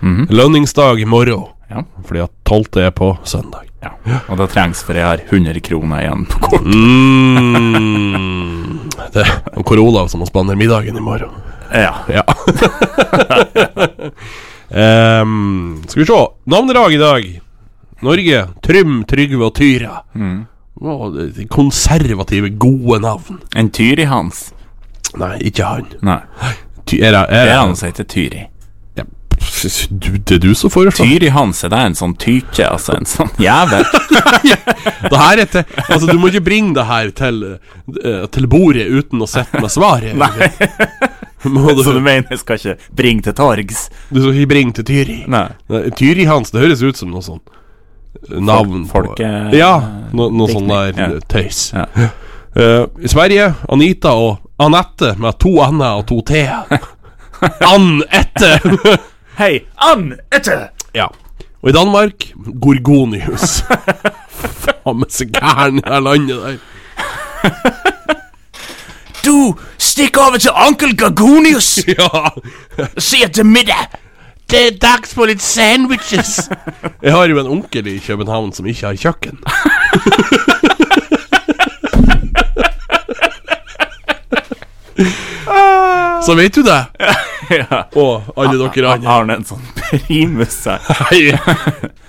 S3: Lønningsdag i morgen.
S1: Ja.
S3: Fordi at 12. er på søndag.
S1: Ja. Og det trengs, for jeg har 100 kroner igjen på kort.
S3: Mm. Det er han Kor Olav som spanderer middagen i morgen.
S1: Ja.
S3: Ja. Ehm, skal vi se. Navnedag i dag. Norge. Trym, Trygve og Tyra. Å, det- de konservative, gode navn.
S1: En Tyri Hans.
S3: Nei, ikke han.
S1: Nei.
S3: Ty er det- er
S1: Det
S3: det
S1: er han som heter Tyri.
S3: Ja, pff, du, det er du som foreslår.
S1: Tyri Hans, er det en sånn tyke, altså? En sånn jævel?
S3: Det her er til, altså, du må ikke bringe det her til, eh, til bordet uten å sette med svaret.
S1: Nei.
S3: Må
S1: Så du
S3: du,
S1: mener jeg skal ikke bringe til torgs?
S3: du skal ikke bringe til Tyri.
S1: Nei.
S3: Nei, Tyri Hans, det høres ut som noe sånn Navn
S1: Folk- folke-
S3: på Ja, no, noe sånn
S1: diktning.
S3: der
S1: Ja.
S3: tøys.
S1: Ja.
S3: Eh, I Sverige, Anita og Anette med to n-er og to t-er. Anette!
S1: Hei, Ann Ette!
S3: ja. Og i Danmark, Gorgonius. Faen meg så gæren i det landet der.
S1: Du, stikk over til onkel Gorgonius
S3: Ja,
S1: og si etter middag!
S3: det er dags for litt sandwiches. Jeg har jo en onkel i København som ikke har kjøkken. Så vet du det.
S1: ja.
S3: Og alle dere andre.
S1: Har han en sånn primus her?
S3: Nei, jeg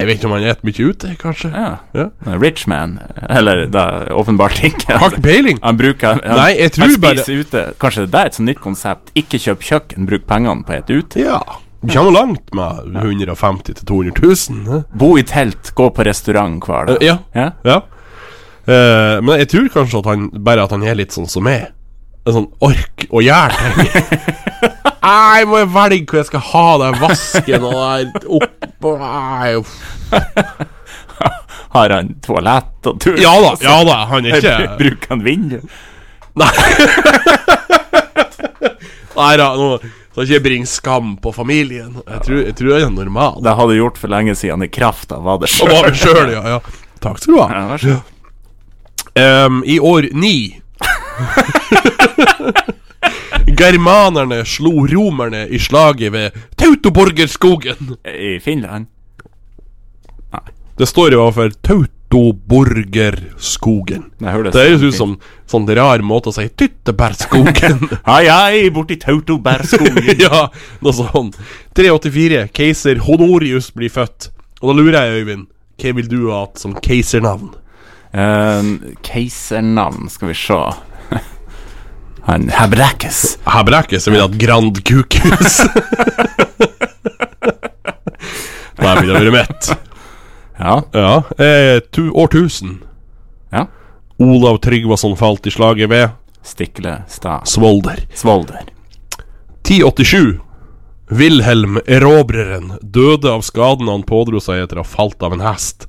S3: vet ikke om han spiser mye ute, kanskje.
S1: Ja.
S3: Ja.
S1: Rich man. Eller det er åpenbart ikke.
S3: Har ikke peiling.
S1: Han bruker han,
S3: Nei, jeg tror
S1: han
S3: bare-
S1: spiser ute. Kanskje det er et sånt nytt konsept. Ikke kjøp kjøkken, bruk pengene på et ute.
S3: Ja. Vi kommer langt med 150 000-200 000.
S1: Bo i telt, gå på restaurant hver dag.
S3: Ja.
S1: Ja?
S3: ja. Eh, men jeg tror kanskje at han bare at han er litt sånn som meg. En sånn ork og jern. Nei, må jeg velge hvor jeg skal ha den vasken og der oppå Nei, uff.
S1: Har han toalett og tur?
S3: Ja da, ja da, han er ikke
S1: Bruker han vindu?
S3: Nei da, nå skal ikke jeg bringe skam på familien. Jeg tror, jeg tror jeg er normal.
S1: Det hadde jeg gjort for lenge siden i kraft av hva det
S3: Og
S1: sjøl.
S3: bare sjøl, ja, ja. Takk skal du ha. Ehm, I år ni Germanerne slo romerne i slaget ved Tautoborgerskogen.
S1: I Finland.
S3: Det står jo for Tautoborgerskogen.
S1: Det høres
S3: Det høres ut som sånn rar måte å si Tyttebærskogen.
S1: Hei, hei, borti Tautobærskogen.
S3: ja, noe sånn. 384. Keiser Honorius blir født. Og da lurer jeg, Øyvind, hva vil du ha som keisernavn?
S1: Eh, Keisernavn, skal vi se. Han Hebrekes.
S3: Her brekkes jeg vil ha et Grand Kukus. Der ville det vært mett.
S1: Ja.
S3: Ja. Eh, tu, årtusen.
S1: ja.
S3: Olav Tryggvason falt i slaget ved
S1: Stikle Stad.
S3: Svolder.
S1: Svolder.
S3: 1087. Wilhelm Erobreren døde av skaden han pådro seg etter å ha falt av en hest.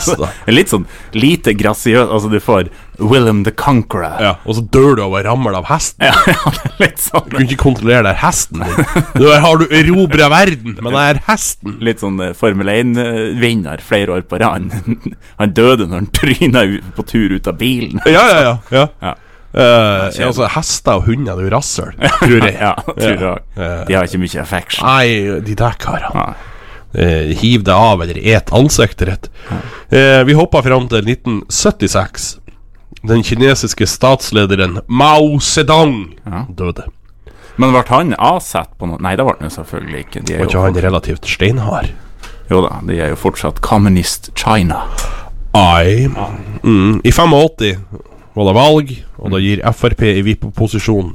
S3: Så da-
S1: Litt sånn lite grasiøs. Altså, du får Willem the Conqueror.
S3: Ja, og så dør du av å ramle av hesten.
S1: Ja, ja det er litt
S3: Du
S1: sånn
S3: kunne ikke kontrollere den hesten din. Nå har du erobra verden, men det er hesten.
S1: Litt sånn eh, Formel 1-vinner flere år på rad. Han døde når han tryna ut- på tur ut av bilen.
S3: Ja, ja, ja. ja.
S1: Ja.
S3: Eh, altså, hester og hunder er jo rasshøl, tror jeg.
S1: Ja, tror jeg òg.
S3: Ja.
S1: De har ikke mye affection.
S3: Nei, de der karene.
S1: Nei.
S3: Eh, hiv deg av eller et ansiktet ditt. Eh, vi hoppa fram til 1976. Den kinesiske statslederen Mao Zedong døde.
S1: Men ble han avsatt på noe Nei, det ble han jo selvfølgelig ikke. De er
S3: Var ikke
S1: jo,
S3: han relativt steinhard?
S1: jo da, de er jo fortsatt Communist China.
S3: Ai. Mm. I 85 var det valg, og da gir Frp i vippeposisjon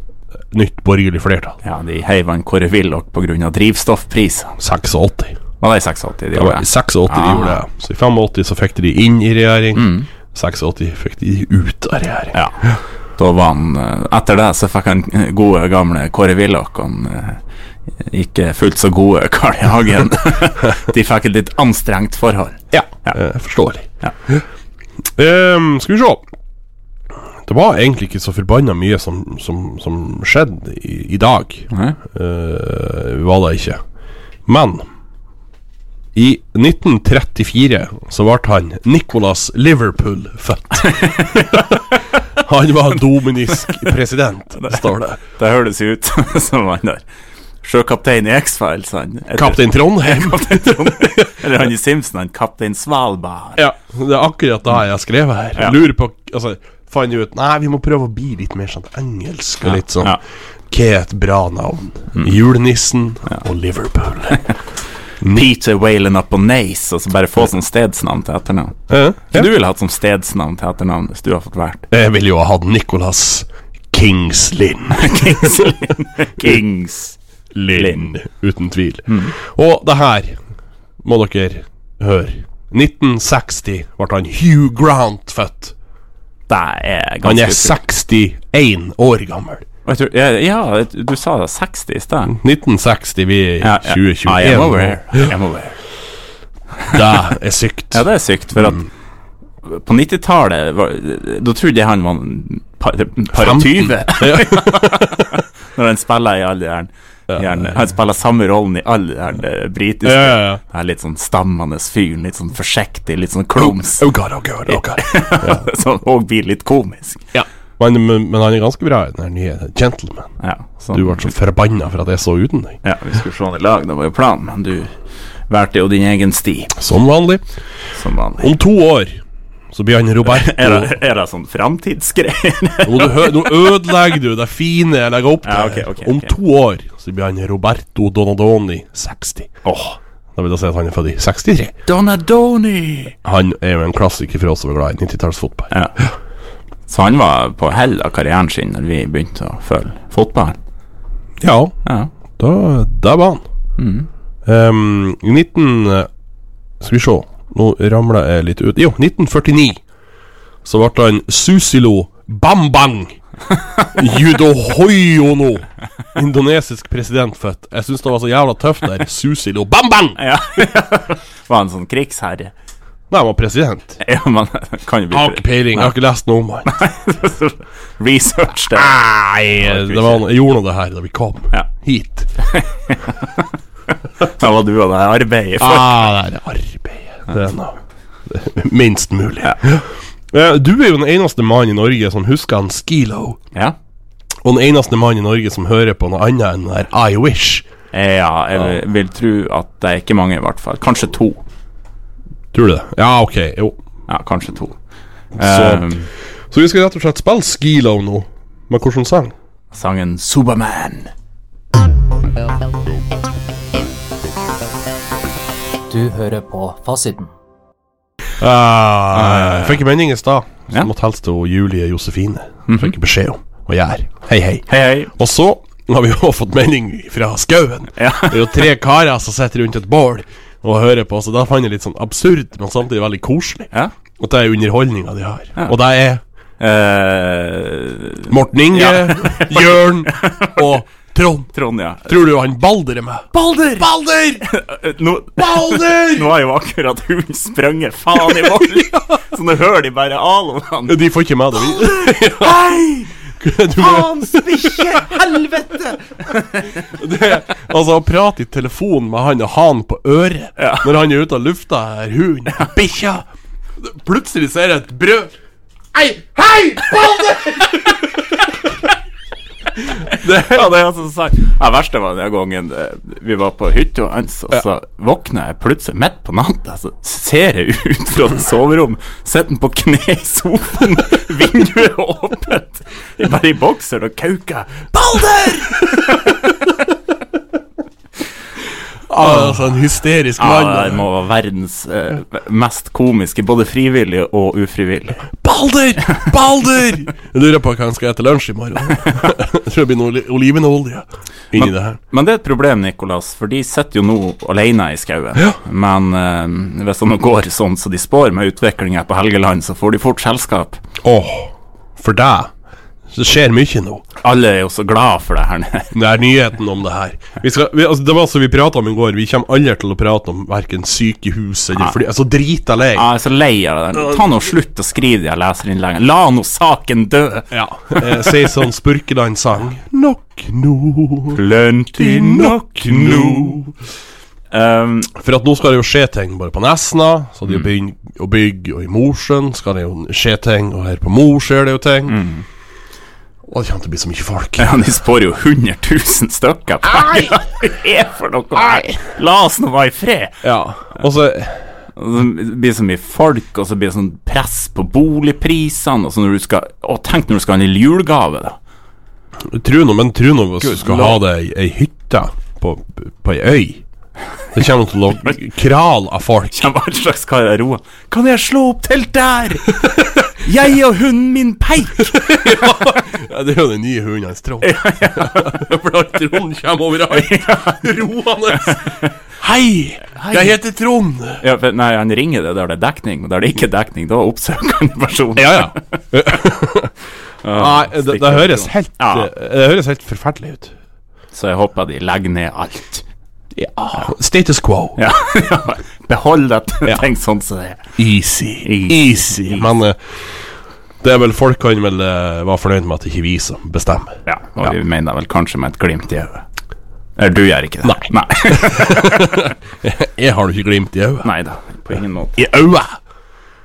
S3: nytt borgerlig flertall.
S1: Ja, de heiv han Kåre Willoch pga. drivstoffpriser.
S3: 86.
S1: Var det i 86 de
S3: Det var
S1: gjorde?
S3: i 86 de
S1: Ah. Mm.
S3: gjorde det. Så i 85 så fikk de inn i regjering. 86 fikk de ut av regjering.
S1: Ja. Da var han eh, Etter det så fikk han eh, gode, gamle Kåre Willoch. Han eh, ikke fullt så gode Carl I. Hagen. de fikk et litt anstrengt forhold.
S3: Ja, eh, forståelig.
S1: Ja.
S3: Ehm, skal vi se. Det var egentlig ikke så forbanna mye som, som, som skjedde i, i dag.
S1: Nei?
S3: Eh, var det ikke. Men i 1934 så ble han Nicholas Liverpool født. han var dominisk president, står det.
S1: Det høres jo ut som han har sjøkaptein i X-Files, han. Eller-
S3: Kaptein Trond.
S1: Kaptein Trond. Eller han i Simpson, han kaptein Svalbard.
S3: Ja, det er akkurat det jeg skrev her.
S1: Ja.
S3: Jeg lurer på altså, Fant ut Nei, vi må prøve å bli litt mer sånn engelsk og litt sånn.
S1: ja. Mm.
S3: Hva er et bra navn? Julenissen og Liverpool.
S1: Peter Whalen upon Nace, og så bare få som stedsnavn til etternavn.
S3: Eh,
S1: Hva du ville hatt som stedsnavn til etternavn hvis du hadde fått vært
S3: Jeg ville jo ha hatt Nicholas Kings Lind.
S1: Kings Lynn? Kings
S3: Lind, uten tvil.
S1: Mm.
S3: Og det her må dere høre. 1960 ble han Hugh Grant født.
S1: Det er
S3: Han
S1: ganske
S3: er 61 år gammel.
S1: Og jeg tror- Ja, ja, du sa det 60 i sted.
S3: 1960, vi er i
S1: Ja, ja. Ah, I am
S3: 2021.
S1: aware. I am aware.
S3: Det er sykt.
S1: Ja, det er sykt, for at
S3: Mm.
S1: på 90-tallet var- Da trodde jeg han var en par, par 20 når han spiller i alle de her gjerne- Han spiller samme rollen i alle de her eh, britiske.
S3: Ja, ja, ja.
S1: Den her litt sånn stammende fyren, litt sånn forsiktig, litt sånn klums.
S3: Oh god, oh god, oh god.
S1: Som òg blir litt komisk.
S3: Men, men, men han er ganske bra i den her nye Gentleman.
S1: Ja, sånn.
S3: Du ble så forbanna for at jeg så uten deg.
S1: Ja, vi skulle se han i lag, det var jo planen, men du valgte jo din egen sti,
S3: Som vanlig.
S1: som vanlig.
S3: Om to år så blir han Roberto.
S1: Er det, er det sånn framtidsgreier?
S3: Nå, du hø nå ødelegger du det fine jeg legger opp til.
S1: Ja,
S3: her.
S1: ok, ok,
S3: Om
S1: ok.
S3: to år så blir han Roberto Donadoni 60.
S1: Åh,
S3: Da vil jeg si at han er født i 63.
S1: Donadoni!
S3: Han er jo en klassiker for oss som er glad i 90-tallsfotball.
S1: Ja. Så han var på hell av karrieren sin når vi begynte å følge fotball.
S3: Ja,
S1: Ja.
S3: da, da var han. Um, I 19... eh, Skal vi se, nå ramla jeg litt ut. Jo, 1949 så ble han Susilo Bambang Yudhoyono, indonesisk president, født. Jeg syns det var så jævla tøft der. Susilo Bambang!
S1: Var han sånn krigsherre?
S3: Nei, han var president.
S1: Ja, man kan jo bli
S3: Har ikke peiling, har ikke lest noe om han.
S1: Research det.
S3: Nei, det var, jeg gjorde nå det her da vi kom
S1: Ja.
S3: hit.
S1: Da var du og det arbeidet for.
S3: Ah, det er arbeidet. Det er noe. Minst mulig. Eh, Du er jo den eneste mannen i Norge som husker han Skilo.
S1: Ja.
S3: Og den eneste mannen i Norge som hører på noe annet enn det der I Wish.
S1: Eh, ja, jeg vil- vil tro at det er ikke mange, i hvert fall. Kanskje to.
S3: Tror du det? Ja, ok. Jo.
S1: Ja, kanskje to.
S3: Så-
S1: Um,
S3: Så vi skal rett og slett spille Skilo nå. Med hvilken sang?
S1: sangen Superman.
S4: Du hører på Fasiten.
S3: Ah, jeg fikk en melding i stad
S1: Eh,
S3: som
S1: Ja. Mhm.
S3: måtte helst til Julie Josefine. Fikk beskjed om å gjøre. Hei, hei.
S1: Hei, hei.
S3: Og så har vi jo fått melding fra skauen. Det er jo tre karer som sitter rundt et bål og hører på, så da fant jeg litt sånn absurd, men samtidig veldig koselig.
S1: Ja.
S3: At det er underholdninga de har. Og det er
S1: Eh,
S3: Morten Inge, Jørn og Trond.
S1: Trond, ja. Eh,
S3: Tror du han Balder er med? Balder! Balder!
S1: Nå, nå
S3: Balder!
S1: har jo akkurat hun sprunget faen i vold, så nå hører de bare alene.
S3: De får ikke med det. Vi-
S1: Hei!
S3: Du må,
S1: Faen, spikkje! Helvete!
S3: det, altså, å prate i telefon med han og han på øret når han er ute av lufta, er hund, bikkja Plutselig ser jeg et brød Hei! Hei!
S1: Ja, det er altså sant. Det verste var den gangen eh, vi var på hytta hans, og så våkna jeg plutselig midt på natta, så ser jeg ut fra et soverom, sitter han på kne i sofaen, vinduet er åpent, bare i bokser og kauker. Balder!
S3: Ah, altså en hysterisk mann.
S1: Ja, det Ah, må være verdens eh, mest komiske, både frivillig og ufrivillig.
S3: Balder! Balder! Jeg lurer på hva han skal spise til lunsj i morgen. jeg tror det blir noe oli- olivenolje inni det her.
S1: Men det er et problem, Nikolas, for de sitter jo nå alene i skauen.
S3: Ja.
S1: Men eh, hvis det nå går sånn som de spår med utviklinga på Helgeland, så får de fort selskap.
S3: Åh, for deg så skjer mye nå.
S1: Alle er jo så glad for det her nede.
S3: Det er nyheten om det her. Vi skal, vi, altså, det var som vi prata om i går, vi kommer aldri til å prate om verken sykehus eller fly... Altså, drit av lei.
S1: Jeg er så lei av det. der. Ta nå slutt å skrive de her leserinnleggene. La nå saken dø!
S3: Ja. Eh, Si sånn Spurkeland-sang. Nok nå,
S1: Plenty
S3: nok nå.
S1: Um,
S3: For at nå skal det jo skje ting både på Nesna, så de begynner å bygge, og i Mosjøen skal det jo skje ting, og her på Mo skjer det jo ting. Å, det kommer til å bli så mye folk.
S1: Ja, de spår jo 100 000 stykker. Ai! Hva er for noe? La oss nå være i fred.
S3: Ja. Og så
S1: Og så blir det så mye folk, og så blir det sånn press på boligprisene. Og så når du skal Å, tenk når du skal handle julegave, da.
S3: Tro nå, men tro nå hvis
S1: Gud,
S3: du skal
S1: la-
S3: ha deg ei hytte på, på ei øy. Det kommer til å kral av folk.
S1: Kjem all slags karer og roer. Kan jeg slå opp telt der? Jeg og hunden min peik!
S3: Ja, det er jo den nye hunden hans, Trond. For da Trond kommer overalt, roende. Hei, jeg heter Trond.
S1: Ja, for, nei, han ringer det der det er dekning, men der det ikke er dekning, da oppsøker han personen.
S3: Ja, ja. Nei, det, det,
S1: Ah, stikker
S3: høres
S1: Trond.
S3: helt, eh,
S1: Ja.
S3: det høres helt forferdelig ut.
S1: Så jeg håper de legger ned alt.
S3: Ja. Status quo.
S1: Ja, Behold at Tenk sånn som det er.
S3: Easy.
S1: Easy.
S3: Men eh, det er vel folk kan vel eh, være fornøyd med at det ikke er vi som bestemmer.
S1: Ja, og vi mener vel kanskje med et glimt i øyet. Eller du gjør ikke det? Nei.
S3: Jeg har jo ikke glimt i øyet.
S1: Nei da, på ingen måte.
S3: I øyet!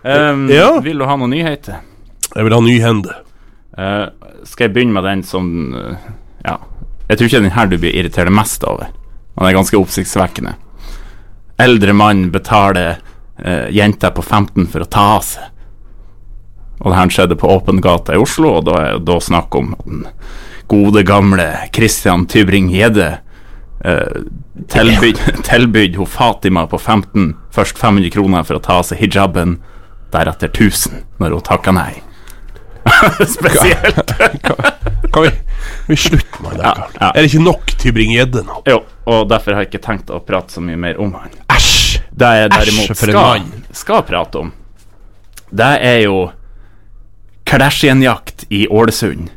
S1: Ehm,
S3: Ja.
S1: Vil du ha noen nyheter?
S3: Jeg vil ha ny hende.
S1: Eh, skal jeg begynne med den som eh, Ja. Jeg tror ikke det er den her du blir irritert mest over. Den er ganske oppsiktsvekkende. Eldre mann betaler uh, jenta på 15 for å ta av seg. Og det her skjedde på Åpen gate i Oslo, og da er det da snakk om at den gode, gamle Christian Tybring-Gjedde eh, tilbyd tilbyd hun Fatima på 15 først 500 kroner for å ta av seg hijaben, deretter 1000 når hun takka nei. Spesielt.
S3: Kan vi, vi slutte med det, Karl?
S1: ja.
S3: Er det ikke nok til å bringe gjedde nå?
S1: Jo, og derfor har jeg ikke tenkt å prate så mye mer om han.
S3: Æsj!
S1: Det jeg derimot
S3: Æsj, for en
S1: skal,
S3: mann.
S1: skal prate om, det er jo Kardashian-jakt i Ålesund.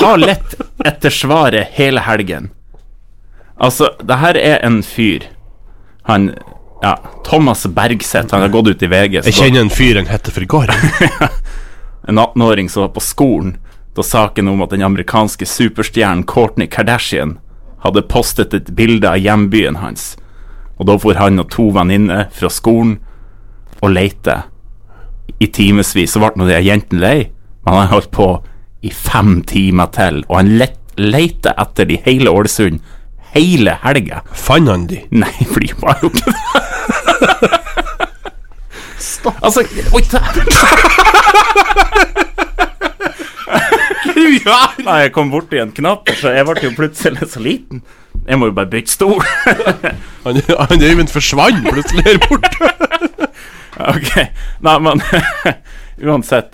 S1: Har lett etter svaret hele helgen. Altså, det her er en fyr Han Ja, Thomas Bergseth. Han har gått ut i VG. så
S3: Jeg kjenner en fyr han heter for gård.
S1: en 18-åring som var på skolen da saken om at den amerikanske superstjernen Kourtney Kardashian hadde postet et bilde av hjembyen hans. Og da for han og to venninner fra skolen og leite. I timevis så ble nå de jentene lei, men han holdt på i fem timer til, og han let, leite etter de hele Ålesund hele helga.
S3: Fant han de?
S1: Nei, for de var jo ikke det. Stopp. Altså, oi, dæven! Nei, jeg kom borti en knapp, så jeg ble jo plutselig så liten. Jeg må jo bare bytte stol.
S3: Han, han Øyvind forsvant plutselig her borte.
S1: ok, Nei, men uansett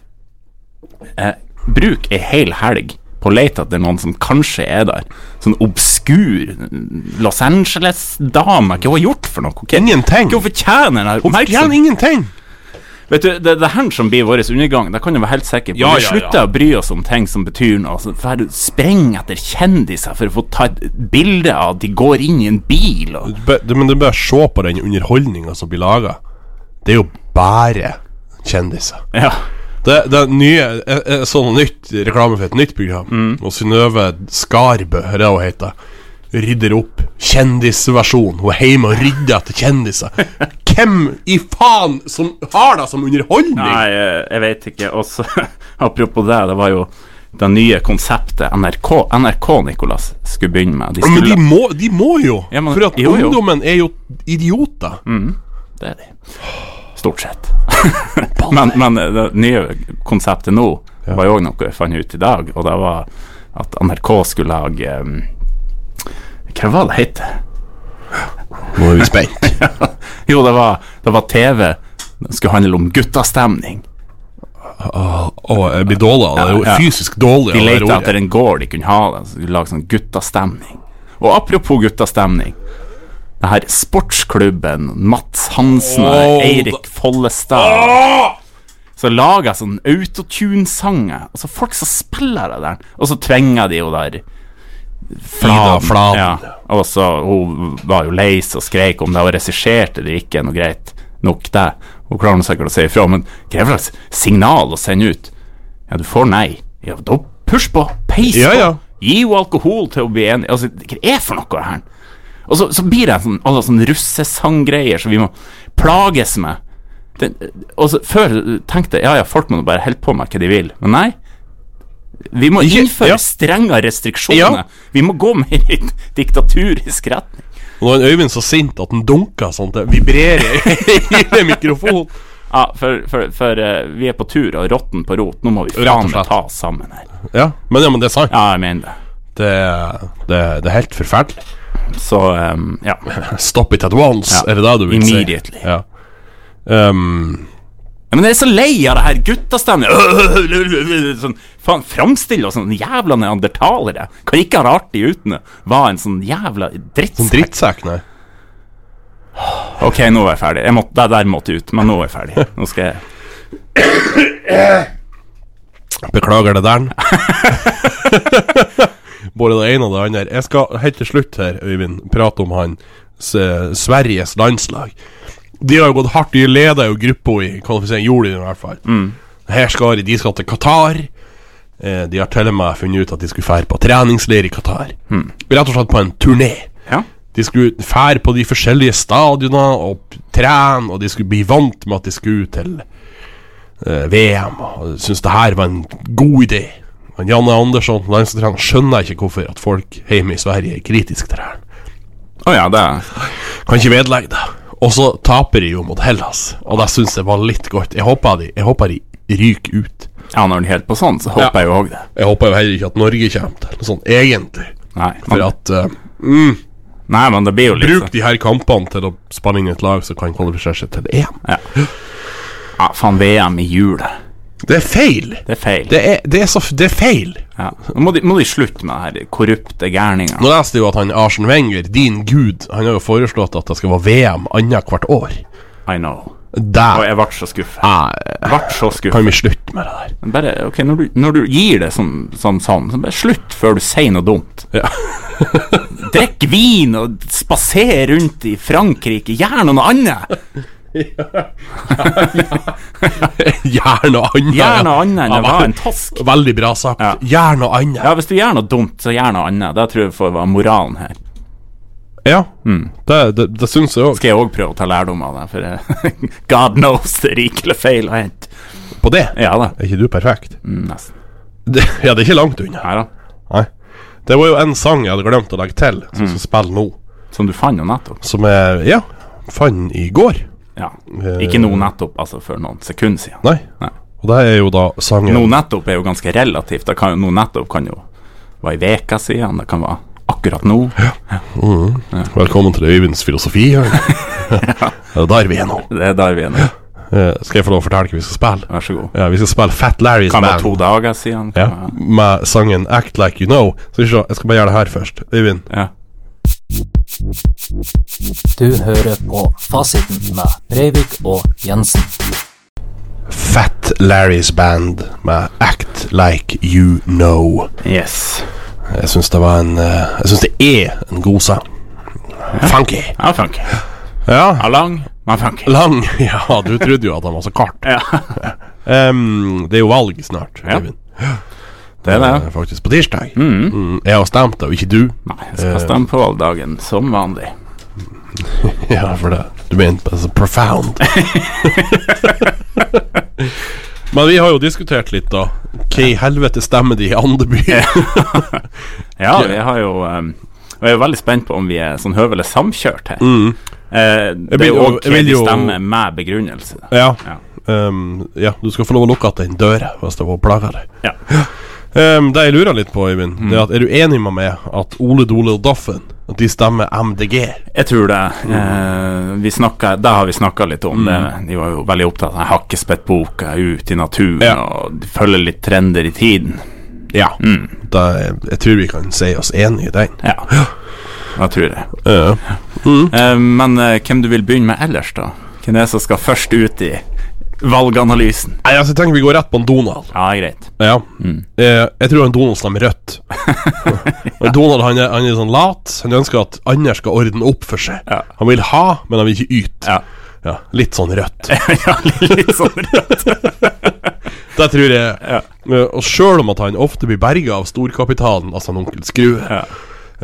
S1: eh, Bruk ei hel helg på å lete etter noen som kanskje er der. Sånn obskur mm, Los Angeles-dame. Hva hun har gjort for noe? Hva
S3: Ingenting.
S1: hva hun fortjener den her
S3: Fortjener
S1: oppmerksomheten?
S3: ingenting.
S1: Vet du, det, det er her som blir vår undergang. Det kan du være helt sikker på.
S3: Ja,
S1: vi
S3: ja,
S1: slutter
S3: ja.
S1: å bry oss om ting som betyr noe. Så for Spreng etter kjendiser for å få ta et bilde av at de går inn i en bil. Og
S3: Du bør- du- Men du bør se på den underholdninga som blir laga. Det er jo bare kjendiser.
S1: Ja.
S3: Det, det nye jeg, jeg så noe nytt reklame for et nytt program.
S1: Mm.
S3: Og Synnøve Skarbø, er det hun heter. Rydder opp. Kjendisversjon. Hun er hjemme og rydder etter kjendiser. Hvem i faen som har det som underholdning?
S1: Nei, eh, jeg vet ikke. Og så, apropos det, det var jo det nye konseptet NRK, NRK Nikolas, skulle begynne med. De
S3: Men de
S1: skulle,
S3: må, de må jo!
S1: Ja, men-
S3: for at
S1: jo, Mm. jo.
S3: ungdommen er jo idioter.
S1: det er de. Stort sett. men, men eh, det nye konseptet nå var jo òg noe jeg fant ut i dag, og det var at NRK skulle lage eh, Hva var det het?
S3: Nå er vi spent.
S1: Jo, det var, det var TV. Det skulle handle om guttastemning.
S3: Å, jeg eh, blir dårlig av det. Det er
S1: Ja, ja.
S3: jo fysisk dårlig.
S1: De
S3: av det
S1: lette
S3: ordet.
S1: etter en gård de kunne ha der, så de lage sånn guttastemning. Og apropos guttastemning. Det her sportsklubben, Mats Hansen og
S3: Åh,
S1: Eirik Follestad. Så lager jeg sånn autotune-sanger. Altså folk som spiller det der. Og så tvinger de jo der
S3: Ida Fladen.
S1: Ja. Og så hun var jo lei seg og skreik om det var regissert eller ikke, noe greit nok det. Hun klarer nå sikkert å si ifra, men hva er det slags signal å sende ut? Ja, du får nei. Ja, da push på! Peis på!
S3: Ja, ja.
S1: Gi henne alkohol til å bli enig. Altså, hva er det for noe her? Og så, så blir det en sånn, alle sånne russesanggreier som vi må plages med. Det, og så, før tenkte jeg ja ja, folk må nå bare holde på med hva de vil, men nei. Vi må
S3: Ikke-
S1: innføre
S3: ja.
S1: strengere restriksjoner.
S3: Ja.
S1: Vi må gå mer i diktaturisk retning.
S3: Nå er Øyvind så sint at han dunker sånn at det vibrerer i hele mikrofonen.
S1: Ja, for, for, for eh, vi er på tur, og rotten på rot. Nå må vi
S3: og
S1: faen meg
S3: slett.
S1: ta oss sammen her.
S3: Ja, men, ja, men det er sant.
S1: Ja, jeg mener det.
S3: Det, det, det er helt forferdelig.
S1: Så ehm, ja.
S3: Stop it at once,
S1: Ja.
S3: er det det du vil si?
S1: Immediately.
S3: Ja. Um,
S1: Men jeg er så lei av det her guttastemninga. Sånn, faen, framstille oss som jævla neandertalere. Kan ikke ha det artig uten det. Var en sånn jævla
S3: sånn
S1: drittsekk.
S3: drittsekk, nei.
S1: Ok, nå er jeg ferdig. Jeg måtte, det der måtte ut, men nå er jeg ferdig. Nå skal jeg
S3: Beklager det der. Både det ene og det andre. Jeg skal helt til slutt her, Øyvind, prate om han S Sveriges landslag. De har jo gått hardt. De leder jo gruppa i kvalifisering, gjorde de i hvert fall. Her skal de, de skal til Qatar. Eh, de har til og med funnet ut at de skulle fære på treningsleir i Qatar. Rett og slett på en turné.
S1: Ja.
S3: De skulle fære på de forskjellige stadionene og p- trene, og de skulle bli vant med at de skulle til eh, VM. Og syntes det her var en god idé. Men Janne Andersson, landslagstreneren, skjønner ikke hvorfor at folk hjemme i Sverige er kritiske til det her.
S1: Å ja, det
S3: Kan ikke vedlegge det. Og så taper de jo mot Hellas, og det syns jeg var litt godt. Jeg håper de, jeg håper de ryker ut.
S1: Ja, når den holder på sånn, så håper jeg jo òg det.
S3: Jeg håper jo heller ikke at Norge kommer til sånn egentlig.
S1: Nei
S3: For
S1: men,
S3: at eh,
S1: nei, men det blir jo litt sånn-
S3: Bruk de her kampene til å spanne inn et lag som kan kvalifisere seg til EM.
S1: Ja, faen, VM i jula.
S3: Det er feil!
S1: Det er feil.
S3: Det er, det er, så, f- det er feil!
S1: Ja. Nå må de, må de slutte med det her korrupte gærninga.
S3: Nå leste jeg jo at han Arsen Wenger, din gud, han har jo foreslått at det skal være VM annethvert år.
S1: I know. Og
S3: Der
S1: jeg ble så skuffa.
S3: eh,
S1: Ble så skuffa.
S3: kan vi slutte med det der.
S1: Bare, ok, når du, når du gir det som sånn, sånn, så bare slutt før du sier noe dumt.
S3: Ja.
S1: Drikk vin og spaser rundt i Frankrike. Gjør noe annet!
S3: Gjør noe annet.
S1: Gjør noe annet enn
S3: Ja,
S1: å være
S3: vel-
S1: en tosk.
S3: Veldig bra sagt.
S1: Ja.
S3: Gjør noe annet.
S1: Ja, hvis du gjør noe dumt, så gjør noe annet. Det tror jeg får være moralen her.
S3: Ja,
S1: Mm.
S3: det, det, det syns jeg òg.
S1: Skal jeg òg prøve å ta lærdom av det, for eh, god knows det er rikelig feil å hente.
S3: På det
S1: Ja da.
S3: er ikke du perfekt.
S1: Mm, Nesten.
S3: Det, ja, det er ikke langt unna.
S1: Her, da.
S3: Nei. Det var jo en sang jeg hadde glemt å legge til, som
S1: Mm.
S3: skal spille nå.
S1: Som du fant jo nettopp.
S3: Som jeg ja, fant i går.
S1: Ja. Ikke nå nettopp, altså for noen sekunder siden.
S3: Nei.
S1: Nei.
S3: Og det er jo da sangen
S1: Nå nettopp er jo ganske relativt. Det kan jo, nå nettopp kan jo være i veka siden, det kan være akkurat nå.
S3: Velkommen til Øyvinds filosofi. ja. Det er der vi er nå.
S1: Det er der vi er nå.
S3: Eh, Skal jeg få lov å fortelle hva vi skal spille?
S1: Vær så god.
S3: Ja, Vi skal spille Fat Larry's
S1: Kan være
S3: Band.
S1: to dager siden. kan
S3: Ja,
S1: være-
S3: med sangen Act Like You Know. Skal vi se, jeg skal bare gjøre det her først. Øyvind.
S1: Ja.
S4: Du hører på Fasiten med Breivik og Jensen.
S3: Fat Larry's Band med Act Like You Know.
S1: Yes.
S3: Jeg syns det var en eh, Jeg syns det er en god sang. Funky.
S1: Ja, funky.
S3: Ja.
S1: Ja, lang, men funky.
S3: Lang. Ja, du trodde jo at han var så kort.
S1: Ja.
S3: Em, det er jo valg snart,
S1: Ja.
S3: Øyvind.
S1: Det er det.
S3: Eh, Faktisk på tirsdag. Mm, jeg har stemt, og ikke du.
S1: Nei, jeg skal stemme på valgdagen, som vanlig.
S3: Ja, for det Du mente altså profound. Men vi har jo diskutert litt, da. Hva i helvete stemmer de i Andeby?
S1: Ja, vi har jo um, Og jeg er veldig spent på om vi er sånn høvelig samkjørt her. Eh, det er
S3: vil
S1: jo
S3: jo-
S1: òg
S3: Mm. jeg vil
S1: hva de
S3: jo-
S1: stemmer med begrunnelse.
S3: ja.
S1: Ja.
S3: Ehm, ja, du skal få lov å lukke igjen den døra hvis det var plager deg.
S1: Ja.
S3: Ehm, det jeg lurer litt på, Øyvind, det er at er du enig med meg at Ole Dole og Doffen At de stemmer MDG?
S1: Jeg tror det.
S3: Mm.
S1: Eh, vi snakka, det har vi snakka litt om. Det. De var jo veldig opptatt av hakkespettboka, ut i naturen
S3: Ja.
S1: og følge litt trender i tiden.
S3: Ja. Da, jeg tror vi kan si oss enig i den.
S1: Ja, det tror jeg.
S3: Ja.
S1: Eh, men eh, hvem du vil begynne med ellers, da? Hvem er det som skal først ut i valganalysen?
S3: Nei, altså, jeg tenker vi går rett på en Donald.
S1: Ja, greit.
S3: Ja.
S1: Mm.
S3: Eh, jeg tror han Donald stemmer rødt. Men Donald han er, han er sånn lat. Han ønsker at andre skal ordne opp for seg.
S1: Ja.
S3: Han vil ha, men han vil ikke yte.
S1: Ja.
S3: Ja, litt sånn rødt.
S1: ja, litt sånn rødt.
S3: Det tror jeg. Eh, og sjøl om at han ofte blir berga av storkapitalen, altså han onkel Skrue
S1: Ja.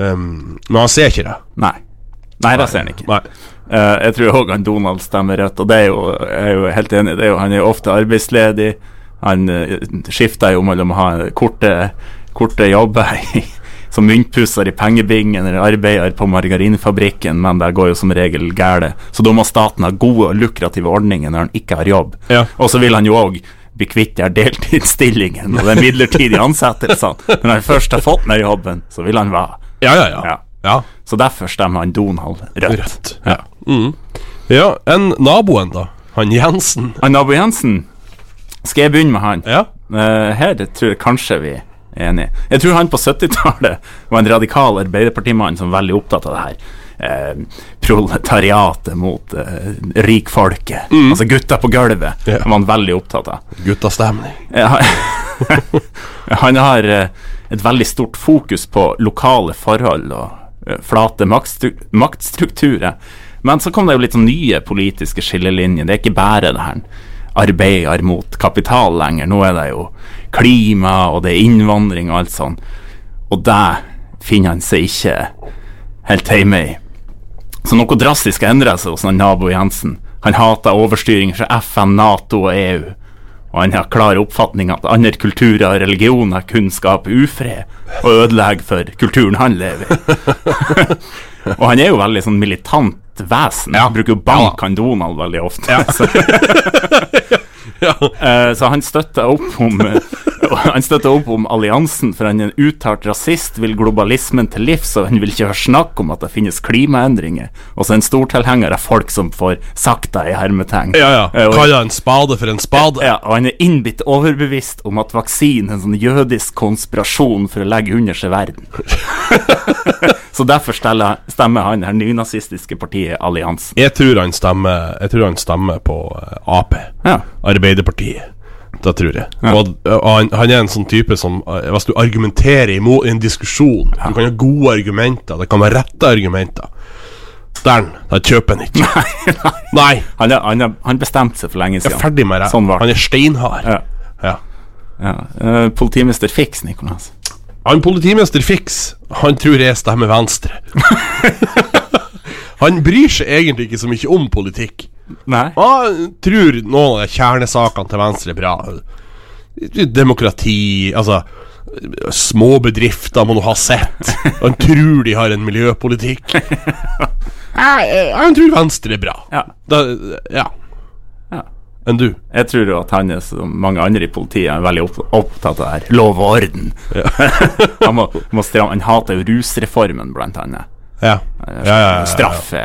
S3: ehm, Men han ser ikke det.
S1: Nei. Nei, det ser han ikke.
S3: Nei.
S1: Eh, jeg tror òg Donald stemmer rødt, og det er jo, jeg er jo helt enig. Det er jo, han er jo ofte arbeidsledig. Han eh, skifta jo mellom å ha korte, korte jobber i, som myntpusser i pengebingen eller arbeider på margarinfabrikken, men det går jo som regel gæle. Så da må staten ha gode og lukrative ordninger når han ikke har jobb.
S3: Ja.
S1: Og så vil han jo òg bli kvitt de her deltidsstillingene og de midlertidige ansettelsene. Når han først har fått den her jobben, så vil han være.
S3: Ja, ja, ja.
S1: Ja.
S3: ja.
S1: Så derfor stemmer han Donald Rødt.
S3: Rødt.
S1: Ja.
S3: ja en naboen, da. Han Jensen.
S1: Han Nabo Jensen, skal jeg begynne med han?
S3: Ja.
S1: Eh, her det tror jeg kanskje vi er enige. Jeg tror han på 70-tallet var en radikal arbeiderpartimann som var veldig opptatt av det her. Eh, proletariatet mot eh, rikfolket. Altså gutta på gulvet.
S3: Mm. Ja.
S1: Han var han veldig opptatt av.
S3: Guttastemning.
S1: Eh, han- han har eh, et veldig stort fokus på lokale forhold og eh, flate maktstru maktstrukturer. Men så kom det jo litt sånn nye politiske skillelinjer. Det er ikke bare det her arbeider mot kapital lenger. Nå er det jo klima, og det er innvandring og alt sånn. Og det finner han seg ikke helt hjemme i. Så noe drastisk endrer seg hos han nabo Jensen. Han hater overstyring fra FN, Nato og E EU. Og han har klar oppfatning at andre kulturer og religioner kun skaper ufred og ødelegger for kulturen han lever i. og han er jo veldig sånn militant vesen. Han Bruker jo bank han Donald veldig ofte. så, Eh, så han støtter opp om eh, Han støtter opp om alliansen, for han er en uttalt rasist, vil globalismen til livs, og han vil ikke høre snakk om at det finnes klimaendringer. Og så er han stortilhenger av folk som får sakta i hermetegn.
S3: Ja, ja.
S1: Eh, og-
S3: Kaller en spade for en spade.
S1: ja, og han er innbitt overbevist om at vaksinen er en sånn jødisk konspirasjon for å legge under seg verden. Så derfor steller- stemmer han her nynazistiske partiet Alliansen.
S3: Jeg tror han stemmer Jeg tror han stemmer på eh, Ap.
S1: Ja.
S3: Arbeiderpartiet. Det tror jeg. Og, eh, og han, han er en sånn type som eh, Hvis du argumenterer imot i en diskusjon Du kan ha gode argumenter, det kan være rette argumenter. Dæren, da kjøper han ikke. Nei.
S1: Han, er, han, er, han bestemte seg for lenge
S3: Jeg
S1: siden.
S3: er ferdig med det.
S1: Sånn var
S3: han
S1: det.
S3: er steinhard.
S1: Ja.
S3: Ja.
S1: Ja. Eh, politimester Fiks, Nikolas.
S3: Han politimester Fiks, han tror jeg stemmer Venstre. han bryr seg egentlig ikke så mye om politikk.
S1: Nei.
S3: Han tror noen av de kjernesakene til Venstre er bra. Demokrati, altså Små bedrifter må du ha sett. Han tror de har en miljøpolitikk. Nei, Han tror Venstre er bra.
S1: Ja.
S3: Da, ja.
S1: Ja.
S3: Enn du?
S1: Jeg tror jo at han er som mange andre i politiet er veldig opp opptatt av det her. Lov og orden. han, må, må stramme, han hater jo rusreformen, blant annet.
S3: Ja. ja, ja, ja, ja.
S1: Straffe,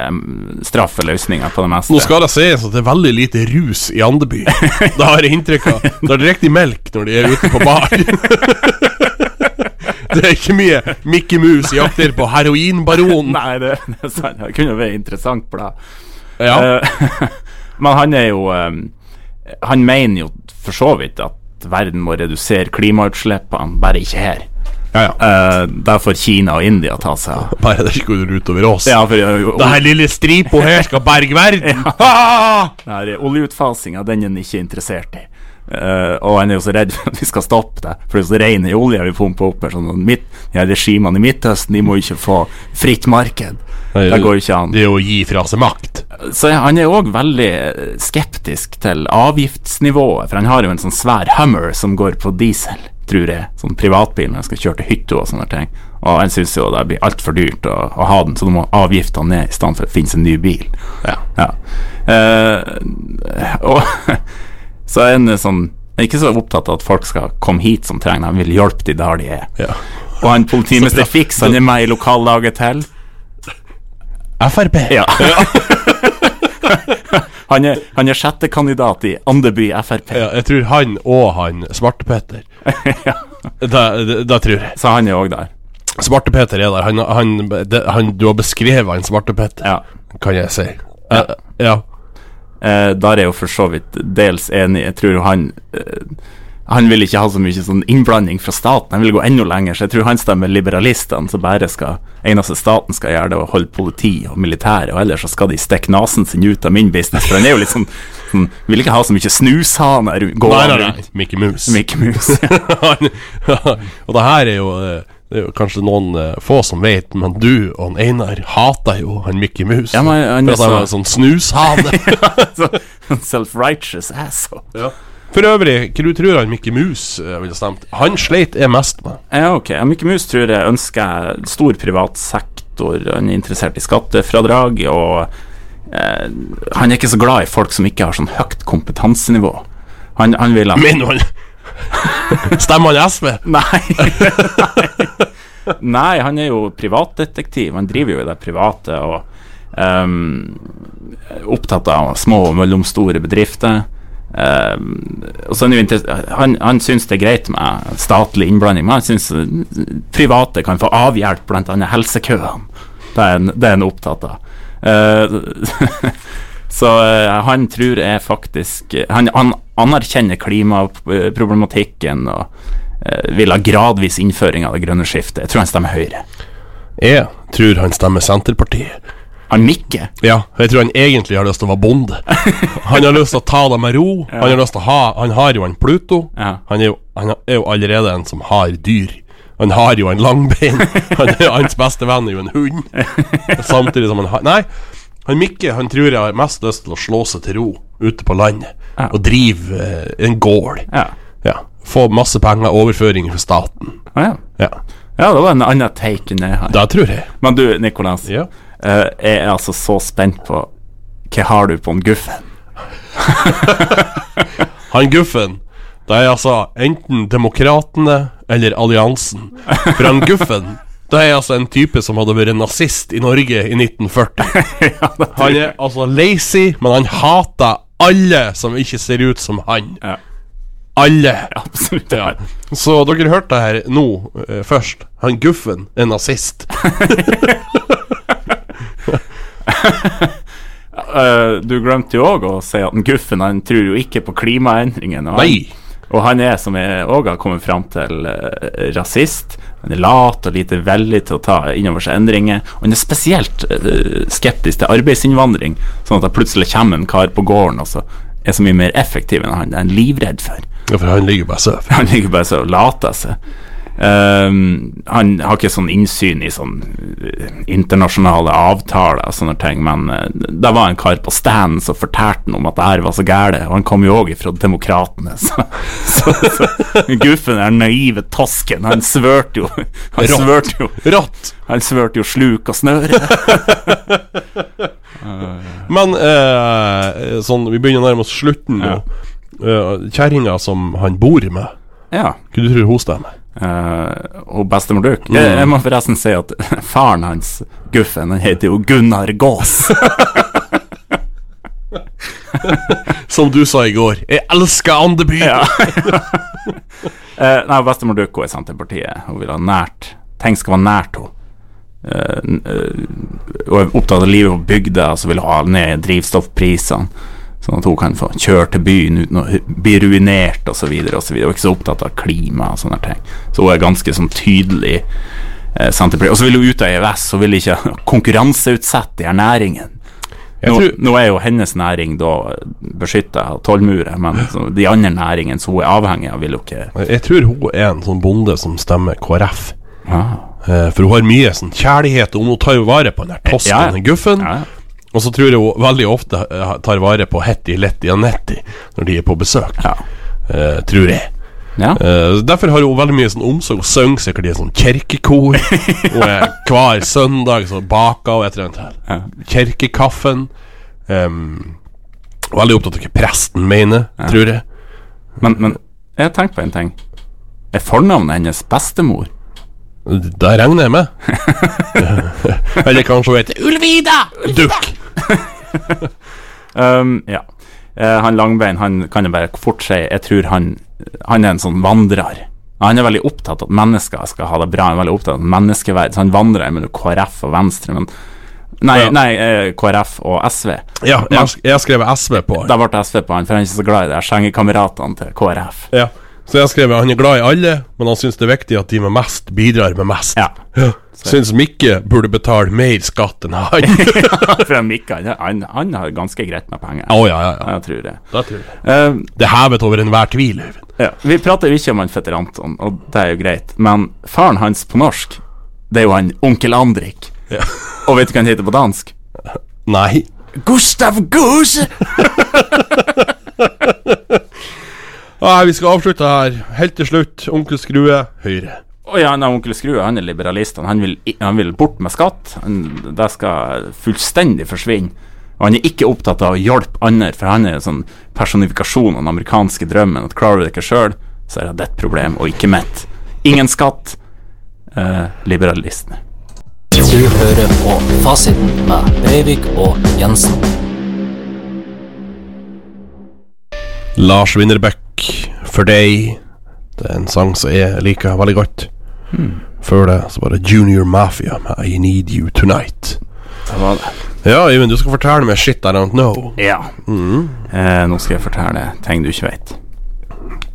S1: straffe løsninger på det meste.
S3: Nå skal det sies at det er veldig lite rus i Andeby. Det har jeg inntrykk av. Det er direkte melk når de er ute på bar. Det er ikke mye Mickey Mouse jakter på heroinbaron.
S1: Nei, det, det er sant. Det kunne jo vært interessant for deg.
S3: Ja,
S1: Eh, Men han er jo eh, Han mener jo for så vidt at verden må redusere klimautslippene, bare ikke her.
S3: ja, ja.
S1: Eh, der får Kina og India ta seg av.
S3: Bare det ikke går utover oss.
S1: eh, Ja, for uh,
S3: Det her lille stripa her skal berge verden.
S1: oljeutfasinga, den er han ikke interessert i. Eh, og han er jo så redd for at vi skal stoppe det, for det er jo så ren olje vi pumper opp her. Sånn, at midt, ja, regimene i Midtøsten de må jo ikke få fritt marked.
S3: Nei,
S1: Det går jo ikke an.
S3: Det er å gi fra seg makt.
S1: Så han er òg veldig eh, skeptisk til avgiftsnivået, for han har jo en sånn svær Hummer som går på diesel, tror jeg. Sånn privatbil når jeg skal kjøre til hytta og sånne ting. Og han syns jo det blir altfor dyrt å, å ha den, så da må avgiftene ned i stedet for at det finnes en ny bil.
S3: Ja.
S1: Ja. Eh, og så er han sånn han er ikke så opptatt av at folk skal komme hit som trenger det, han vil hjelpe de der de er.
S3: ja.
S1: Og han politimester
S3: Så bra.
S1: Fiks, han er med i lokallaget til.
S3: Frp.
S1: Ja. han, er, han er sjette kandidat i Andeby Frp,
S3: Ja, jeg tror han og han Svarte-Petter. Det, det, det tror jeg.
S1: så han er òg der.
S3: Svarte-Petter er der. Han, han, det, han, du har beskrevet han Svarte-Petter,
S1: Ja.
S3: kan jeg si. Ja. ja.
S1: Eh, der er jeg jo for så vidt dels enig. Jeg tror jo han eh, Han vil ikke ha så mye sånn innblanding fra staten, han vil gå enda lenger, så jeg tror han stemmer liberalistene, som bare skal eneste staten skal gjøre, det er å holde politi og militære, og ellers så skal de stikke nesen sin ut av min business, for han er jo litt sånn, sånn Vil ikke ha så mye snushaner rundt-
S3: Nei,
S1: gående
S3: nei, nei.
S1: rundt.
S3: Mickey Mouse.
S1: Mickey Mouse.
S3: han, og det her er jo eh, Det er jo kanskje noen eh, få som vet, men du og han Einar hater jo han Mickey Mouse.
S1: Ja, men han er
S3: for at
S1: så-
S3: han var en sånn snushane.
S1: Så- Self-righteous asshole.
S3: Ja. For øvrig, hva du tror han Mikke Mus eh, ville stemt? Han sleit jeg mest med.
S1: Ja, ok. Ja, Mikke Mus tror jeg ønsker jeg stor privat sektor. Han er interessert i skattefradrag, og eh, han er ikke så glad i folk som ikke har sånn høyt kompetansenivå. Han, han vil ha
S3: Mener han Stemmer han SV?
S1: Nei. Nei, han er jo privatdetektiv. Han driver jo i det private og ehm, er opptatt av små og mellomstore bedrifter. Ehm, og så er han, jo inter- han, han syns det er greit med statlig innblanding, men han syns eh, private kan få avhjelp, bl.a. helsekøene. Det er han- det er han opptatt av. Eh, Så eh, han tror jeg faktisk Han, han anerkjenner klimaproblematikken og eh, vil ha gradvis innføring av det grønne skiftet. Jeg tror han stemmer Høyre.
S3: Jeg tror han stemmer Senterpartiet.
S1: Han nikker.
S3: Ja, jeg tror han egentlig har lyst til å være bonde. Han har lyst til å ta det med ro. Han har lyst til å ha Han har jo en Pluto.
S1: Ja.
S3: Han er jo, han er jo allerede en som har dyr. Han har jo en langbein. Han er, hans beste venn er jo en hund. Samtidig som han har Nei, han Mikke han tror jeg har mest lyst til å slå seg til ro ute på landet
S1: Ja.
S3: og drive eh, en gård.
S1: Ja.
S3: Ja. Få masse penger, overføringer fra staten.
S1: Å ja.
S3: Ja,
S1: ja, det var en annen take enn jeg har.
S3: det tror jeg.
S1: Men du, Nikolas.
S3: Ja.
S1: eh, jeg er altså så spent på Hva har du på en guffen?
S3: Han Guffen, det er altså enten Demokratene eller Alliansen. For han Guffen, det er altså en type som hadde vært nazist i Norge i 1940. Han er altså lazy, men han hater alle som ikke ser ut som han.
S1: Ja.
S3: Alle.
S1: Absolutt.
S3: Ja. Så dere hørte det her nå eh, først. Han Guffen er nazist.
S1: Eh, du glemte jo òg å si at en Guffen han tror jo ikke på klimaendringene. og han-
S3: Nei.
S1: Og han er, som jeg òg har kommet fram til, eh, rasist. Han er lat og lite veldig til å ta innover seg endringer. Og han er spesielt eh, skeptisk til arbeidsinnvandring, sånn at det plutselig kommer en kar på gården og så er så mye mer effektiv enn han. Det er han livredd for.
S3: Ja, for han ligger bare og sover.
S1: Han ligger bare så og later seg. Ehm, han har ikke sånn innsyn i sånn eh, internasjonale avtaler og sånne ting, men eh, det var en kar på standen som fortalte han om at det her var så gære, og han kom jo òg ifra Demokratene, så, så, så Guffen, den naive tosken, han svørte jo Han
S3: Rått.
S1: svørte jo,
S3: Rått.
S1: han svørte jo sluk og snøre.
S3: Men eh, sånn, vi begynner å nærme oss slutten nå. Eh, Kjerringa som han bor med,
S1: Ja.
S3: hva du tror hun stemmer?
S1: eh, og bestemor Duck. Jeg, jeg må forresten si at faren hans, Guffen, han heter jo Gunnar Gås.
S3: Som du sa i går, jeg elsker Andeby!
S1: Ja. Eh, nei, bestemor Duck hun er Senterpartiet. Hun vil ha nært. Ting skal være nært henne. Eh, n- eh, hun er opptatt av livet på bygda, så vil hun ha ned drivstoffprisene. Sånn at hun kan få kjøre til byen uten å hu- bli ruinert osv. Hun er ikke så opptatt av klima og sånne ting. Så hun er ganske sånn tydelig eh, Senterpartiet. Og så vil hun ut av EØS, hun vil ikke konkurranseutsette de her næringene.
S3: Jeg
S1: Nå,
S3: tror-
S1: nå er jo hennes næring da beskytta av tollmurer, men så de andre næringene som hun er avhengig av, vil jo ikke
S3: Jeg tror hun er en sånn bonde som stemmer KrF.
S1: ah,
S3: Eh, for hun har mye sånn kjærlighet, og hun tar jo vare på den der tosken,
S1: Ja, ja.
S3: den guffen.
S1: ja.
S3: Og så tror jeg hun veldig ofte eh, tar vare på Hetty, Letty og Netty når de er på besøk.
S1: Ja.
S3: Eh, tror jeg.
S1: ja.
S3: Eh, derfor har hun veldig mye sånn omsorg. Hun synger sikkert i et sånt kirkekor. Hun er hver søndag så baker hun et eller annet her. Kirkekaffen. Em, veldig opptatt av hva presten mener, tror jeg.
S1: Men, men jeg tenkte på en ting. Er fornavnet hennes bestemor?
S3: Det regner jeg med. eller kanskje hun heter Ulvida Dukk.
S1: Um, ja. Eh, han Langbein han kan jeg bare fort si Jeg tror han, han er en sånn vandrer. Han er veldig opptatt av at mennesker skal ha det bra. Han er veldig opptatt av menneskeverd. Så han vandrer mellom KrF og Venstre. Men nei,
S3: Ja.
S1: nei eh, KrF og SV.
S3: Ja, jeg, har- jeg har skrevet SV på
S1: Da
S3: han.
S1: ble SV på han, for han er ikke så glad i det. Skjengekameratene til KrF.
S3: Ja. Så jeg har skrevet han er glad i alle, men han syns det er viktig at de med mest bidrar med mest.
S1: Ja.
S3: Syns Mikke burde betale mer skatt enn han.
S1: for han Mikk, han, han, han har ganske greit med penger.
S3: Å ja, ja, ja.
S1: Jeg tror det.
S3: Det tror jeg.
S1: Eh,
S3: Det er hevet over enhver tvil, Øyvind.
S1: Ja, vi prater jo ikke om han fetter Anton, og det er jo greit, men faren hans på norsk, det er jo han onkel Andrik. Og vet du hva han heter på dansk?
S3: Nei.
S1: Gustav Goose!
S3: Nei, vi skal avslutte her. Helt til slutt, onkel Skrue, Høyre.
S1: Å ja, nei, onkel Skrue han er liberalist. Han, han, vil, i- han vil bort med skatt. Han, det skal fullstendig forsvinne. Og han er ikke opptatt av å hjelpe andre, for han er en sånn personifikasjon av den amerikanske drømmen. At Klarer du det ikke sjøl, så er det ditt problem, og ikke mitt. Ingen skatt. Eh, liberalistene.
S4: Du hører på Fasiten med Breivik og Jensen.
S3: Lars Winnerbæk, for deg. Det er en sang som jeg liker veldig godt.
S1: Hmm.
S3: Før det så var det Junior Mafia med I Need You Tonight.
S1: Det var det.
S3: Ja, Øyvind, du skal fortelle meg shit I don't know.
S1: Ja. Eh, nå skal jeg fortelle ting du ikke veit.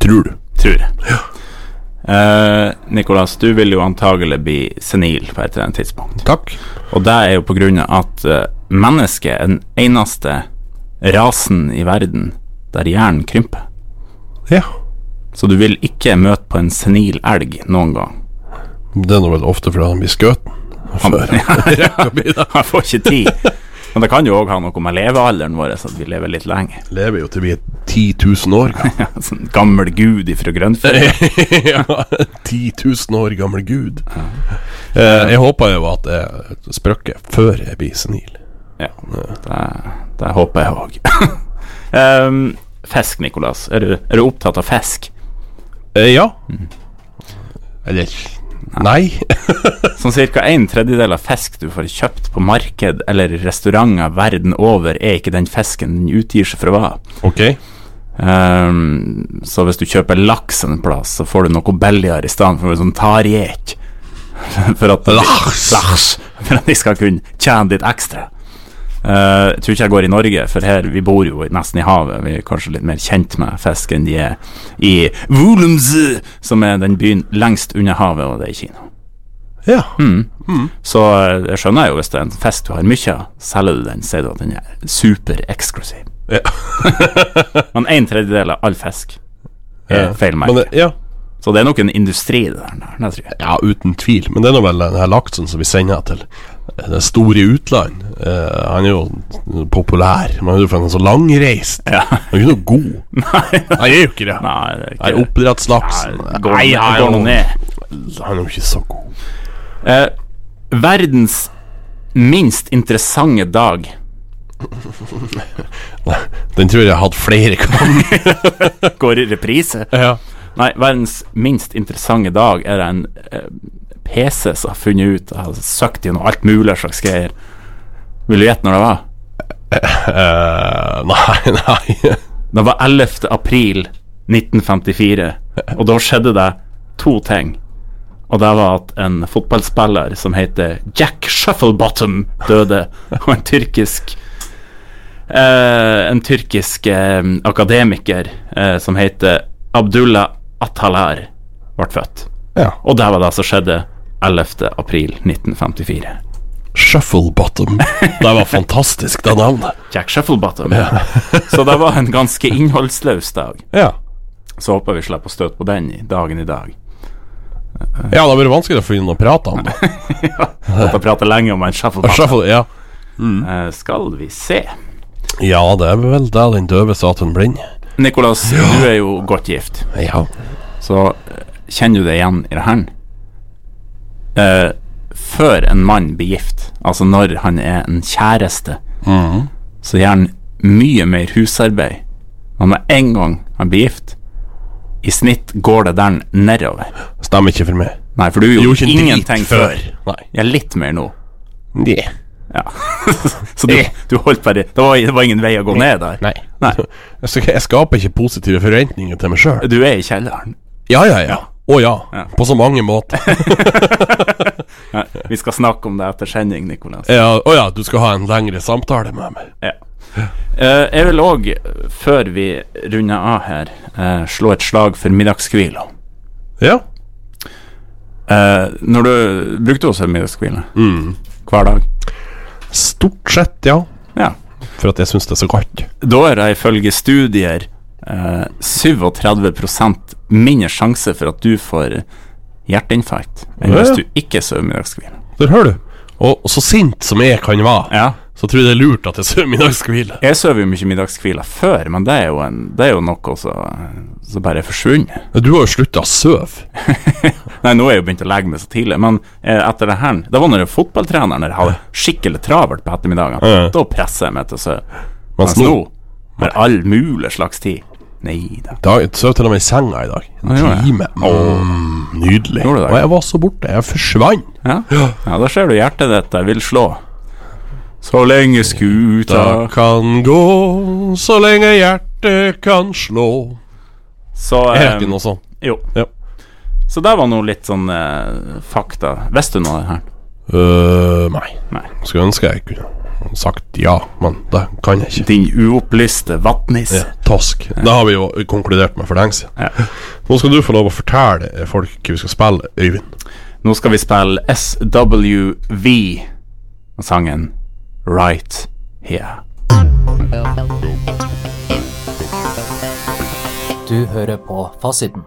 S3: Tror du?
S1: Tror jeg. Eh, Nicolas, du vil jo antagelig bli senil på et eller annet tidspunkt.
S3: Takk.
S1: Og det er jo på grunn av at eh, mennesket er den eneste rasen i verden der hjernen krymper.
S3: Ja.
S1: Så du vil ikke møte på en senil elg noen gang.
S3: Det er nå vel ofte fordi han blir skutt.
S1: Han,
S3: Før.
S1: ja, han får ikke tid. Men det kan jo òg ha noe med levealderen vår, så at vi lever litt lenge.
S3: Lever jo til vi er 10 000 år.
S1: Ja, sånn gammel gud ifra Grønnfjell.
S3: ja, 10 000 år gammel gud. Eh, jeg håper jo at jeg sprøkker før jeg blir senil.
S1: Ja, det, det håper jeg òg. um, fisk, Nikolas. Er du, er du opptatt av fisk?
S3: Eh, ja. Eller Nei.
S1: Sånn ca. en tredjedel av fisk du får kjøpt på marked eller i restauranter verden over, er ikke den fisken den utgir seg for å være.
S3: ok.
S1: Ehm, så hvis du kjøper laks en plass, så får du noe billigere i stedet for sånn tarjek. For at
S3: Lars.
S1: Lars. For at de skal kunne tjene litt ekstra. Eh, jeg tror ikke jeg går i Norge, for her vi bor jo nesten i havet. Vi er kanskje litt mer kjent med fisk enn de er i Wulumzi, som er den byen lengst unna havet, og det er Kina.
S3: Ja.
S1: Så eh, jeg skjønner jo hvis det er en fest du har mye av, selger du den, sier du at den er supereksklusiv.
S3: Ja.
S1: Men en tredjedel av all fisk er
S3: Ja.
S1: Eh, feil
S3: Eh, Men,
S1: merke.
S3: det- ja.
S1: Så det er nok en industri, det der. der, det tror jeg.
S3: ja, uten tvil. Men det er nå vel den her laksen som vi sender til eh, det store utland. Eh, han er jo populær. Men han er jo for han er så langreist.
S1: Ja.
S3: Han er jo ikke noe god. Han er jo ikke det.
S1: Nei, det er
S3: Nei,
S1: ikke
S3: oppdrettslaksen
S1: Nei, går, nei, går nå ned.
S3: Han er jo ikke så god.
S1: Eh, verdens minst interessante dag.
S3: Den tror jeg jeg har hatt flere ganger. Eh,
S1: Går i reprise.
S3: ja.
S1: Nei, verdens minst interessante dag er det en eh, PC som har funnet ut har søkt gjennom alt mulig slags greier. Vil du gjette når det var?
S3: Eh, nei, nei.
S1: Det var 11. april 1954, og da skjedde det to ting. Og det var at en fotballspiller som heter Jack Shufflebottom døde, og en tyrkisk eh, En tyrkisk eh, akademiker eh, som heter Abdullah Atalar, ble født.
S3: Ja.
S1: Og det var det som skjedde 11. april 1954.
S3: Shuffle Bottom. Det var fantastisk, det navnet.
S1: Jack Shufflebottom. Så det var en ganske innholdsløs dag.
S3: Ja.
S1: Så håper vi slipper å støte på den i dagen i dag.
S3: ja, det har vært vanskelig å finne noe å prate om. da.
S1: Måtte prate lenge om en shuffleball.
S3: Shuffle, ja.
S1: Eh, skal vi se.
S3: ja, det er vel det den døve sa til den blinde.
S1: Nicolas, du er jo godt gift,
S3: Ja.
S1: så eh, kjenner du deg igjen i det her? Eh, før en mann blir gift, altså når han er en kjæreste,
S3: Mhm.
S1: så gjør han mye mer husarbeid. Men med en gang han blir gift, i snitt går det der nedover.
S3: Stemmer ikke for meg.
S1: Nei, for du gjorde
S3: en drit
S1: ingenting før.
S3: Nei.
S1: Ja, litt mer nå.
S3: Yeah.
S1: Ja. så du, du holdt bare det var, det var ingen vei å gå ned der?
S3: Eh. Nei.
S1: Nei.
S3: Jeg, skal, jeg skaper ikke positive forventninger til meg sjøl.
S1: Du er i kjelleren.
S3: Ja, ja, ja. Å ja. På så mange måter.
S1: Nei, vi skal snakke om det etter sending, Nikolas.
S3: Ja, Å ja, du skal ha en lengre samtale med meg.
S1: Ja. Eh, jeg vil òg, før vi runder av her, eh, slå et slag for middagshvila.
S3: Ja.
S1: Eh, når du brukte også middagshvile hver dag
S3: Stort sett, ja.
S1: Ja.
S3: For at jeg syns det er så godt.
S1: Da er det ifølge studier eh, 37 mindre sjanse for at du får hjerteinfarkt enn
S3: Ja,
S1: hvis
S3: ja.
S1: du ikke sover middagshvile.
S3: Der hører du. Og og så sint som jeg kan være,
S1: Ja.
S3: så tror jeg det er lurt at jeg sover middagshvile.
S1: Jeg sover jo mye middagshviler før, men det er jo, en, det er jo noe som som bare er forsvunnet.
S3: Du har jo slutta å sove.
S1: Nei, nå er jeg jo begynt å legge meg så tidlig, men eh, etter det her Det var når jeg var fotballtrener når jeg hadde skikkelig travelt på ettermiddagene.
S3: Ja.
S1: Da presser jeg meg til å sove.
S3: Mens
S1: Mens nå har all mulig slags tid. Nei da.
S3: dag, sov til og med i senga i dag. En
S1: Ja, gjorde jeg.
S3: time. Mm, nydelig.
S1: Gjorde du det?
S3: Og jeg var så borte. Jeg forsvant.
S1: Ja, ja da ser du hjertet ditt der vil slå. Så lenge skuta
S3: Da kan gå så lenge hjertet kan slå.
S1: Så
S3: Er det
S1: eh,
S3: ikke noe sånt?
S1: Jo.
S3: Ja.
S1: Så det var nå litt sånn eh, fakta. Visste du noe av det her?
S3: Øh, nei.
S1: Nei.
S3: Skulle ønske jeg kunne sagt ja, men det kan jeg ikke.
S1: Din uopplyste vattnis.
S3: Ja, Task. Det har vi jo konkludert med for lenge siden.
S1: Ja.
S3: Nå skal du få lov å fortelle eh, folk hva vi skal spille, Øyvind.
S1: Nå skal vi spille SWV og sangen Right Here.
S4: Du hører på Fasiten.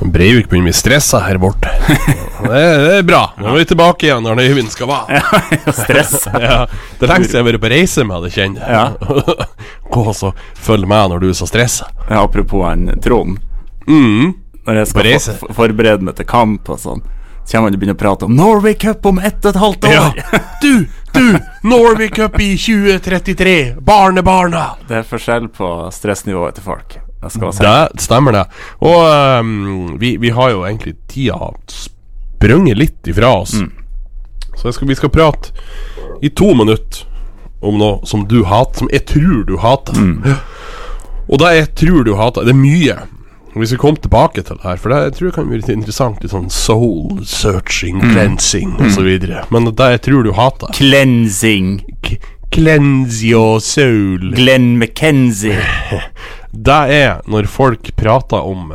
S3: Breivik begynner å bli stressa her borte. Det er, det er bra. Nå er vi tilbake igjen når det Øyvind skal være.
S1: Stress.
S3: Ja, det er lenge siden jeg har vært på reise med deg, kjenner jeg. Gå og så følg med når du er så stressa.
S1: Ja, apropos han Trond.
S3: Mm.
S1: Når jeg
S3: På
S1: skal
S3: reise.
S1: for- for forberede meg til kamp og sånn, så kommer han og begynner å prate om Norway Cup om ett og et halvt år.
S3: Ja. Du, du! Norway Cup i 2033! Barnebarna!
S1: Det er forskjell på stressnivået til folk. Jeg skal si.
S3: Det stemmer, det. Og ehm, vi, vi har jo egentlig tida sprunget litt ifra oss. Så jeg skal, vi skal prate i to minutter om noe som du hater, som jeg tror du hater. Og det jeg tror du hater, det er mye. Og Vi skal komme tilbake til det her, for det jeg tror jeg kan bli litt interessant. Litt sånn soul searching, cleansing og så videre Men det jeg tror du hater
S1: Cleansing.
S3: k- Cleanse your soul.
S1: Glenn McKenzie.
S3: Det er når folk prater om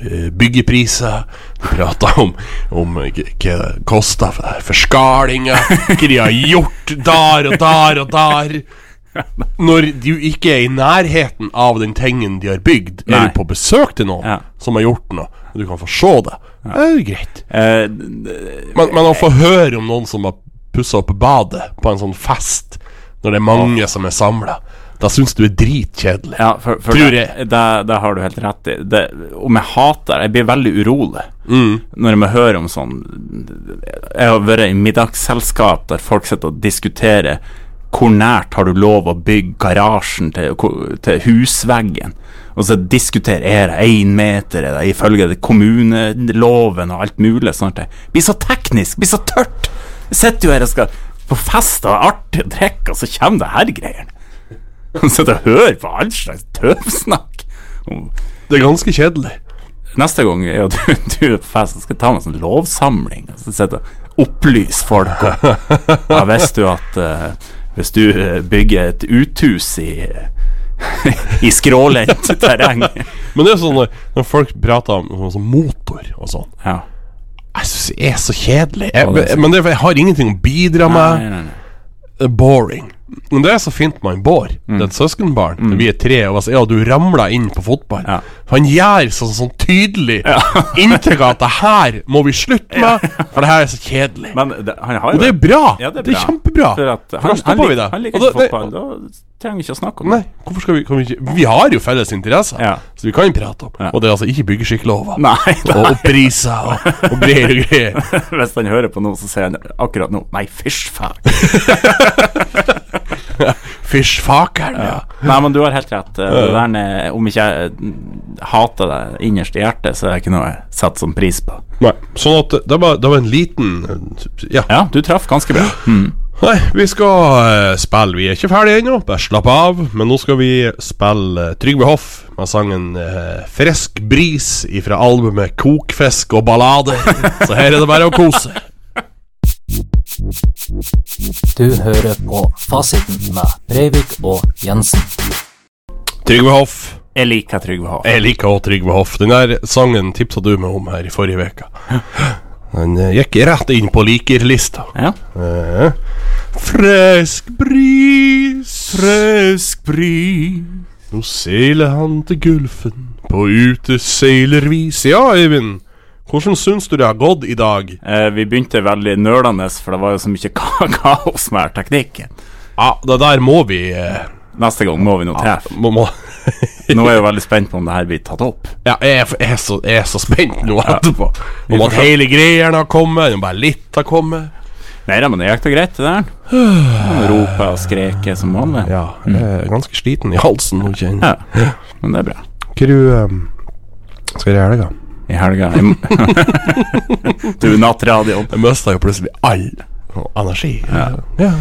S3: eh, byggepriser, de prater om, om eh, hva det koster for, for skalinger, hva de har gjort der og der og der. Når du ikke er i nærheten av den tingen de har bygd,
S1: Nei.
S3: er du på besøk til noen
S1: Ja.
S3: som har gjort noe, og du kan få se det. Det er jo greit.
S1: Eh,
S3: Men, men å få høre om noen som har pussa opp badet på en sånn fest, når det er mange som er samla, da syns du er dritkjedelig.
S1: ja, for, for
S3: Tror
S1: det,
S3: jeg.
S1: det, det har du helt rett i. Det, om jeg hater Jeg blir veldig urolig
S3: Mm.
S1: når jeg hører om sånn Jeg har vært i middagsselskap der folk sitter og diskuterer hvor nært har du lov å bygge garasjen til, hvor- til husveggen? Og så diskuterer er det én meter, er det ifølge det kommuneloven og alt mulig sånt. Det blir så teknisk, blir så tørt! Jeg sitter jo her og skal på fest og ha artig å drikke, og så kommer det her greiene. Han sitter og hører på all slags tøvsnakk.
S3: Det er ganske kjedelig.
S1: Neste gang er jo du, du er på fest, så skal jeg ta med en sånn lovsamling. Og så sitter jeg og opplyser folk. om- Ja, visste du at eh, hvis du eh, bygger et uthus i i skrålendt terreng
S3: Men det er sånn når, når folk prater om sånn, som motor og sånn
S1: ja.
S3: Jeg syns det er så kjedelig. Jeg,
S1: Ja, det er sant.
S3: men det er, for jeg har ingenting å bidra med.
S1: Nei, nei, nei. Mm.
S3: Det er boring. Men det er så fint med en Bård. Det er et søskenbarn. Vi er tre, og altså, ja, du ramla inn på fotball.
S1: Ja.
S3: Han gjør sånn, sånn tydelig inntrykk av at det her må vi slutte med, for det her er så kjedelig.
S1: Men det, han har jo
S3: og det er bra!
S1: Ja, det er bra.
S3: kjempebra.
S1: For at han,
S3: For da
S1: han,
S3: stopper vi
S1: lik-
S3: det.
S1: han
S3: Og
S1: liker ikke
S3: da-
S1: fotball. Da trenger vi ikke å snakke om
S3: Nei,
S1: det.
S3: hvorfor skal vi, kan vi ikke Vi har jo felles interesser,
S1: Ja.
S3: så vi kan prate om. Og det er altså ikke byggeskikklova.
S1: Nei,
S3: og, og priser og, og greier og greier.
S1: Hvis han hører på noe, så sier han akkurat nå Nei, fysj, faen.
S3: Fysjfakeren, ja.
S1: Nei, men du har helt rett. Eh, Det der med, om ikke jeg eh, hater det innerst i hjertet, så er det ikke noe jeg setter som pris på.
S3: Nei, sånn at det var, det var en liten Ja.
S1: Ja, du traff ganske bra. Mm.
S3: Nei, vi skal eh, spille. Vi er ikke ferdige ennå, bare slapp av. Men nå skal vi spille eh, Trygve Hoff med sangen eh, 'Frisk bris' ifra albumet 'Kokfisk og ballader'. Så her er det bare å kose.
S4: Du hører på Fasiten med Breivik og Jensen.
S3: Trygve Hoff.
S1: Jeg liker Trygve Hov.
S3: Jeg liker også Trygve Hoff. Den der sangen tipsa du meg om her i forrige uke. Den eh, gikk rett inn på likerlista.
S1: Ja.
S3: Eh, Frisk bris
S1: Frisk bry
S3: Nå seiler han til gulfen På uteseilervis Ja, Eivind Hvordan syns du det har gått i dag?
S1: Eh, vi begynte veldig nølende, for det var jo så mye ka kaos med teknikken.
S3: Ja, det der må vi eh,
S1: Neste gang må vi nå treffe.
S3: må, må.
S1: Nå er jeg jo veldig spent på om det her blir tatt opp.
S3: Ja, jeg, er- jeg, er så, jeg er så spent nå etterpå. Om
S1: får
S3: at
S1: se.
S3: hele greia har kommet, om bare litt har kommet.
S1: Nei da, men det gikk da greit, det der. Han roper og skreker som vanlig.
S3: Ja, jeg er ganske sliten i halsen nå, kjenner jeg.
S1: Ja. Men det er bra.
S3: Hva du ehm, skal gjøre i helga?
S1: I helga i m- Du, nattradioen.
S3: Jeg mista jo plutselig all energi. Ja.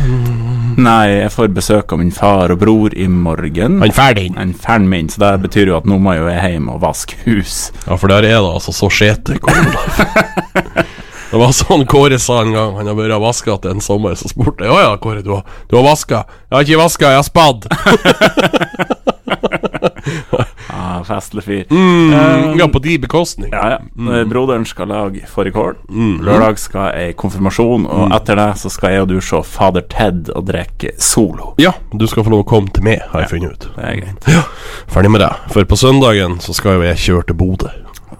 S1: Nei, jeg får besøk av min far og bror i morgen.
S3: Han ferdig.
S1: En fan min, så det betyr jo at nå må jo jeg hjem og vaske hus.
S3: Ja, for der er det altså så skjete kål. Det var sånn Kåre sa en gang han har vært og vaska til en sommer, så spurte jeg Å ja, Kåre, du har, du har vaska? Jeg har ikke vaska, jeg har spadd.
S1: Ja, festlig fyr.
S3: Mm, ja, på de bekostning.
S1: Ja, ja. Eh, Broderen skal lage fårikål. Lørdag skal jeg i konfirmasjon, og etter det så skal jeg og du se Fader Ted og drikke Solo.
S3: Ja, du skal få lov å komme til meg, har jeg funnet ut.
S1: Det er greit.
S3: Ferdig med det. For på søndagen så skal jo jeg kjøre til Bodø.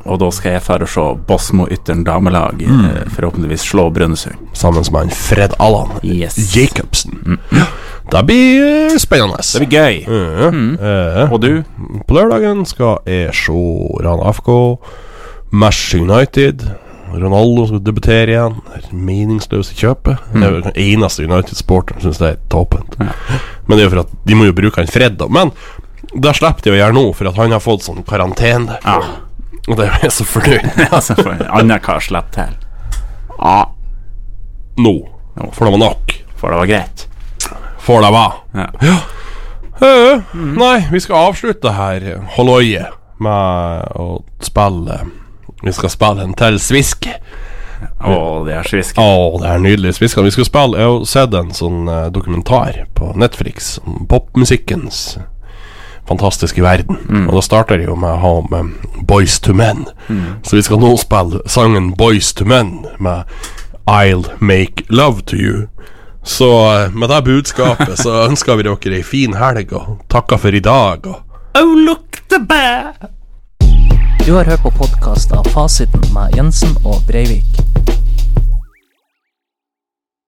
S1: Og da skal jeg dra og se Bosmo Ytteren damelag, eh, forhåpentligvis slå Brønnøysund.
S3: Sammen med en Fred Allan
S1: Yes. Mm.
S3: Jacobsen. Ja, Det blir eh, spennende.
S1: Det blir gøy.
S3: Ja, eh,
S1: Og du?
S3: På lørdagen skal jeg se Rana FK, Mash United. Ronaldo skal debutere igjen. Det er Meningsløse kjøpet.
S1: Mm.
S3: Det er jo den eneste United-sporteren som syns det er tappent. Men det er jo for at de må jo bruke han Fred, da. Men det slipper de å gjøre nå, for at han har fått sånn karantene.
S1: Ja.
S3: Og det er jeg så fornøyd med
S1: Altså, for en annen kar slapp til.
S3: nå. For det var nok.
S1: For det var greit.
S3: For det var.
S1: Ja.
S3: Eh, Nei, vi skal avslutte her halloiet med å spille Vi skal spille en til sviske.
S1: Å, det er svisk.
S3: Å, det er nydelig sviska. Vi skal spille Jeg har jo sett en sånn eh, dokumentar på Netflix om popmusikkens fantastiske verden. Og da starter det jo med å ha med Boys to Men. Så vi skal nå spille sangen Boys to Men med I'll Make Love to You. Så eh, med det budskapet så ønsker vi dere ei fin helg og takker for i dag. og
S1: Oh, look the bear!
S4: Du har hørt på podkast av Fasiten med Jensen og Breivik.